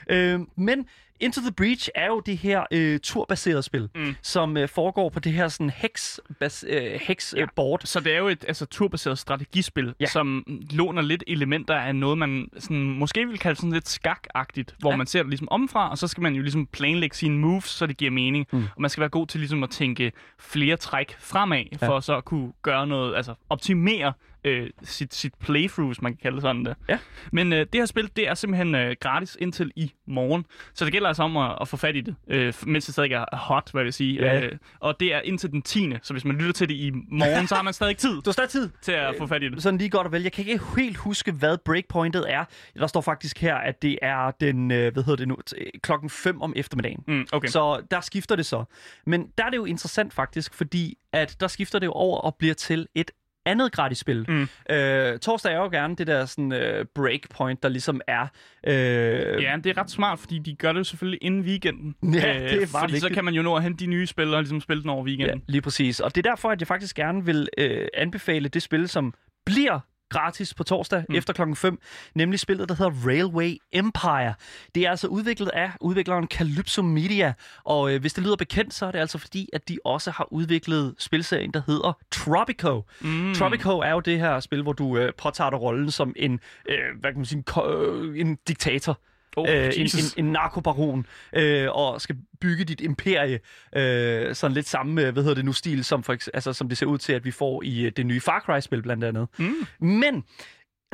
Øh, men Into the Breach er jo det her øh, turbaserede spil, mm. som øh, foregår på det her sådan hex, bas, øh, hex ja. board.
Så det er jo et altså, turbaseret strategispil,
Ja.
ja. som låner lidt elementer af noget, man sådan, måske vil kalde sådan lidt skakagtigt, hvor
Ja.
ja. man ser det ligesom omfra, og så skal man jo ligesom planlægge sine moves, så det giver mening. Mm. Og man skal være god til ligesom at tænke flere træk fremad, ja. for så at kunne gøre noget, altså optimere øh, sit, sit playthrough, hvis man kan kalde det sådan det.
Ja.
Men øh, det her spil, det er simpelthen øh, gratis indtil i morgen. Så det gælder altså om at, at få fat i det, øh, mens det stadig er hot, hvad jeg vil sige.
Ja.
Øh, og det er indtil den 10. Så hvis man lytter til det i morgen, så har man stadig tid
Du har stadig tid.
til at få fat i det.
Sådan lige godt og vel. Jeg kan ikke helt huske, hvad breakpointet er. Der står faktisk her, at det er den, øh, hvad hedder det nu, t- øh, klokken 5 om eftermiddagen.
Mm, okay.
Så der skifter det så. Men der er det jo interessant faktisk, fordi at der skifter det jo over og bliver til et andet gratis spil. Mm. Øh, torsdag er jo gerne det der sådan, øh, breakpoint, der ligesom er... Øh,
Ja, det er ret smart, fordi de gør det jo selvfølgelig inden weekenden. Øh,
Ja, det er bare
Fordi så
vigtigt.
kan man jo nå at hente de nye spillere og ligesom spille den over weekenden.
lige præcis. Og det er derfor, at jeg faktisk gerne vil øh, anbefale det spil, som bliver gratis på torsdag mm. efter klokken 5, nemlig spillet, der hedder Railway Empire. Det er altså udviklet af udvikleren Calypso Media, og øh, hvis det lyder bekendt, så er det altså fordi, at de også har udviklet spilserien, der hedder Tropico. Mm. Tropico er jo det her spil, hvor du øh, påtager dig rollen som en, øh, hvad kan man sige, en, ko- øh, en diktator.
Oh,
øh, en, en,
Jesus.
en narkobaron, øh, og skal bygge dit imperie, øh, sådan lidt samme, øh, hvad hedder det nu, stil, som, for eks- altså, som det ser ud til, at vi får i øh, det nye Far Cry-spil blandt andet. Mm. Men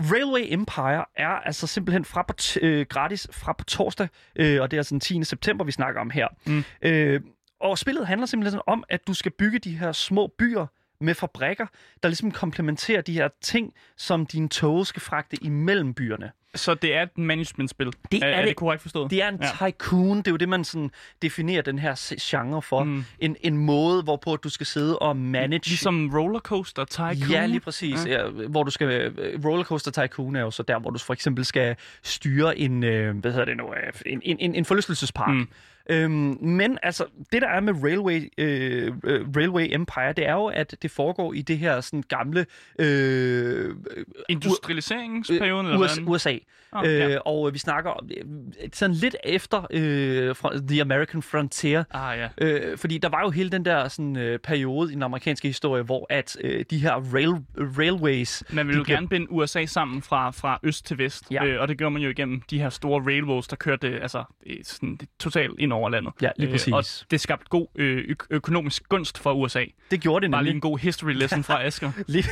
Railway Empire er altså simpelthen fra på t- øh, gratis fra på torsdag, øh, og det er altså den 10. september, vi snakker om her. Mm. Øh, og spillet handler simpelthen om, at du skal bygge de her små byer med fabrikker, der ligesom komplementerer de her ting, som dine tog skal fragte imellem byerne.
Så det er et managementspil.
Det
er,
er
er
det.
det korrekt forstået?
Det er en ja. tycoon, det er jo det, man sådan definerer den her se- genre for. Mm. En, en måde, hvorpå du skal sidde og manage...
Ligesom Rollercoaster Tycoon.
Ja, lige præcis. Ja. Ja, hvor du skal, øh, Rollercoaster Tycoon er jo så der, hvor du for eksempel skal styre en, øh, hvad hedder det nu, øh, en, en, en, en forlystelsespark. Mm. Øhm, men altså, det der er med Railway, øh, øh, Railway Empire, det er jo, at det foregår i det her sådan gamle øh,
Industrialiseringsperioden, eller
USA.
hvordan?
USA.
Åh,
øh,
ja.
Og vi snakker øh, sådan lidt efter øh, fra The American Frontier,
Ah, ja.
Øh, fordi der var jo hele den der sådan, øh, periode i den amerikanske historie, hvor at øh, de her rail, railways...
Man ville
de
jo
blev-
gerne binde USA sammen fra, fra øst til vest,
Ja.
ja. øh, og det gjorde man jo igennem de her store railroads, der kørte øh, altså, øh, sådan, det- totalt ind over landet. Øh,
Ja, lige
og
præcis.
det skabte god øh, ø- økonomisk gunst for USA.
Det gjorde det
Bare lige
nemlig.
en god history lesson fra Asger.
Lige...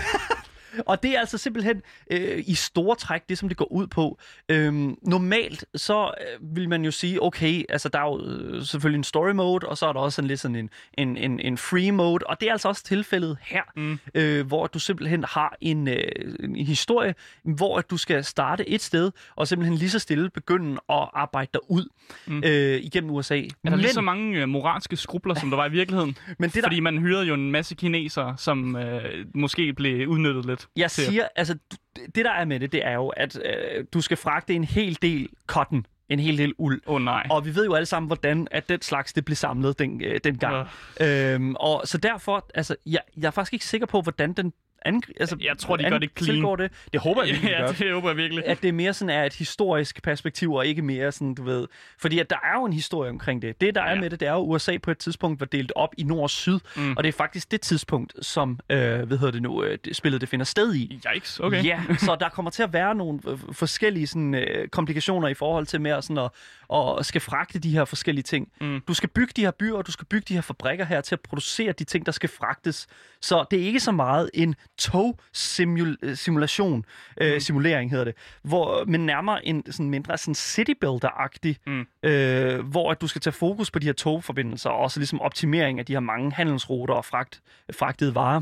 Og det er altså simpelthen øh, i store træk det, som det går ud på. Øhm, normalt så øh, vil man jo sige, okay, altså der er jo øh, selvfølgelig en story mode, og så er der også sådan lidt sådan en, en, en, en free mode, og det er altså også tilfældet her, mm. øh, hvor du simpelthen har en, øh, en historie, hvor at du skal starte et sted, og simpelthen lige så stille begynde at arbejde dig ud mm. øh, igennem USA.
Er der lige så mange øh, moralske skrubler, som der var i virkeligheden?
Men det, der-
Fordi man hyrede jo en masse kinesere, som øh, måske blev udnyttet lidt.
Jeg
til-
siger, altså, d- det der er med det, det er jo, at øh, du skal fragte en hel del cotton, en hel del uld.
Åh oh, nej.
Og vi ved jo alle sammen, hvordan at den slags det blev samlet den, øh, dengang. Øhm, og så derfor, altså, jeg, jeg er faktisk ikke sikker på, hvordan den angri- altså,
Jeg tror, de gør
an-
det clean.
tilgår det. Det håber jeg, virkelig, de
ja,
gør.
det håber jeg virkelig.
At det mere sådan er et historisk perspektiv, og ikke mere sådan, du ved... Fordi at der er jo en historie omkring det. Det, der er
Ja.
med det, det er jo, at USA på et tidspunkt var delt op i nord og syd. Mm. Og det er faktisk det tidspunkt, som, øh, hvad hedder det nu, øh, det- spillet det finder sted i.
Yikes, okay.
Ja, så der kommer til at være nogle øh, forskellige sådan, øh, komplikationer i forhold til med at, sådan at, at skal fragte de her forskellige ting. Mm. Du skal bygge de her byer, og du skal bygge de her fabrikker her til at producere de ting, der skal fragtes. Så det er ikke så meget en togsimulation, øh, simulering hedder det, hvor, men nærmere en sådan mindre sådan citybuilder-agtig, mm. øh, hvor at du skal tage fokus på de her togforbindelser, og også ligesom optimering af de her mange handelsruter og fragt, fragtede varer.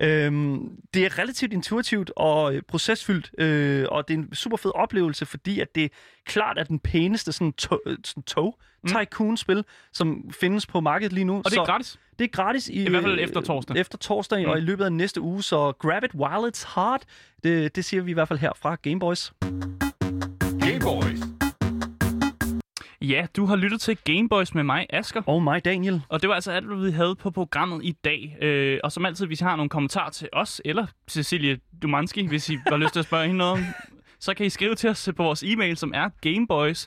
Øhm, det er relativt intuitivt og øh, procesfyldt, øh, og det er en super fed oplevelse, fordi at det klart er den pæneste sådan tog, øh, sådan tog tycoon-spil, som findes på markedet lige nu.
Mm. Og det er gratis.
Det er gratis i,
I hvert fald
øh,
efter torsdag.
Efter torsdag mm. og i løbet af næste uge, så grab it while it's hot. Det, det siger vi i hvert fald her fra Gameboys.
Gameboys.
Ja, du har lyttet til Gameboys med mig, Asger.
Oh my Daniel.
Og det var altså alt, hvad vi havde på programmet i dag. Øh, og som altid, hvis I har nogle kommentarer til os, eller Cecilie Dumanski, hvis I har lyst til at spørge hende noget om, så kan I skrive til os på vores e-mail, som er gameboys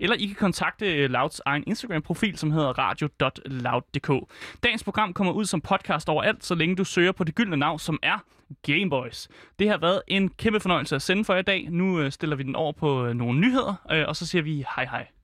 Eller I kan kontakte øh, Louds egen Instagram-profil, som hedder radio.loud.dk. Dagens program kommer ud som podcast overalt, så længe du søger på det gyldne navn, som er Gameboys. Det har været en kæmpe fornøjelse at sende for jer i dag. Nu øh, stiller vi den over på øh, nogle nyheder, øh, og så siger vi hej hej.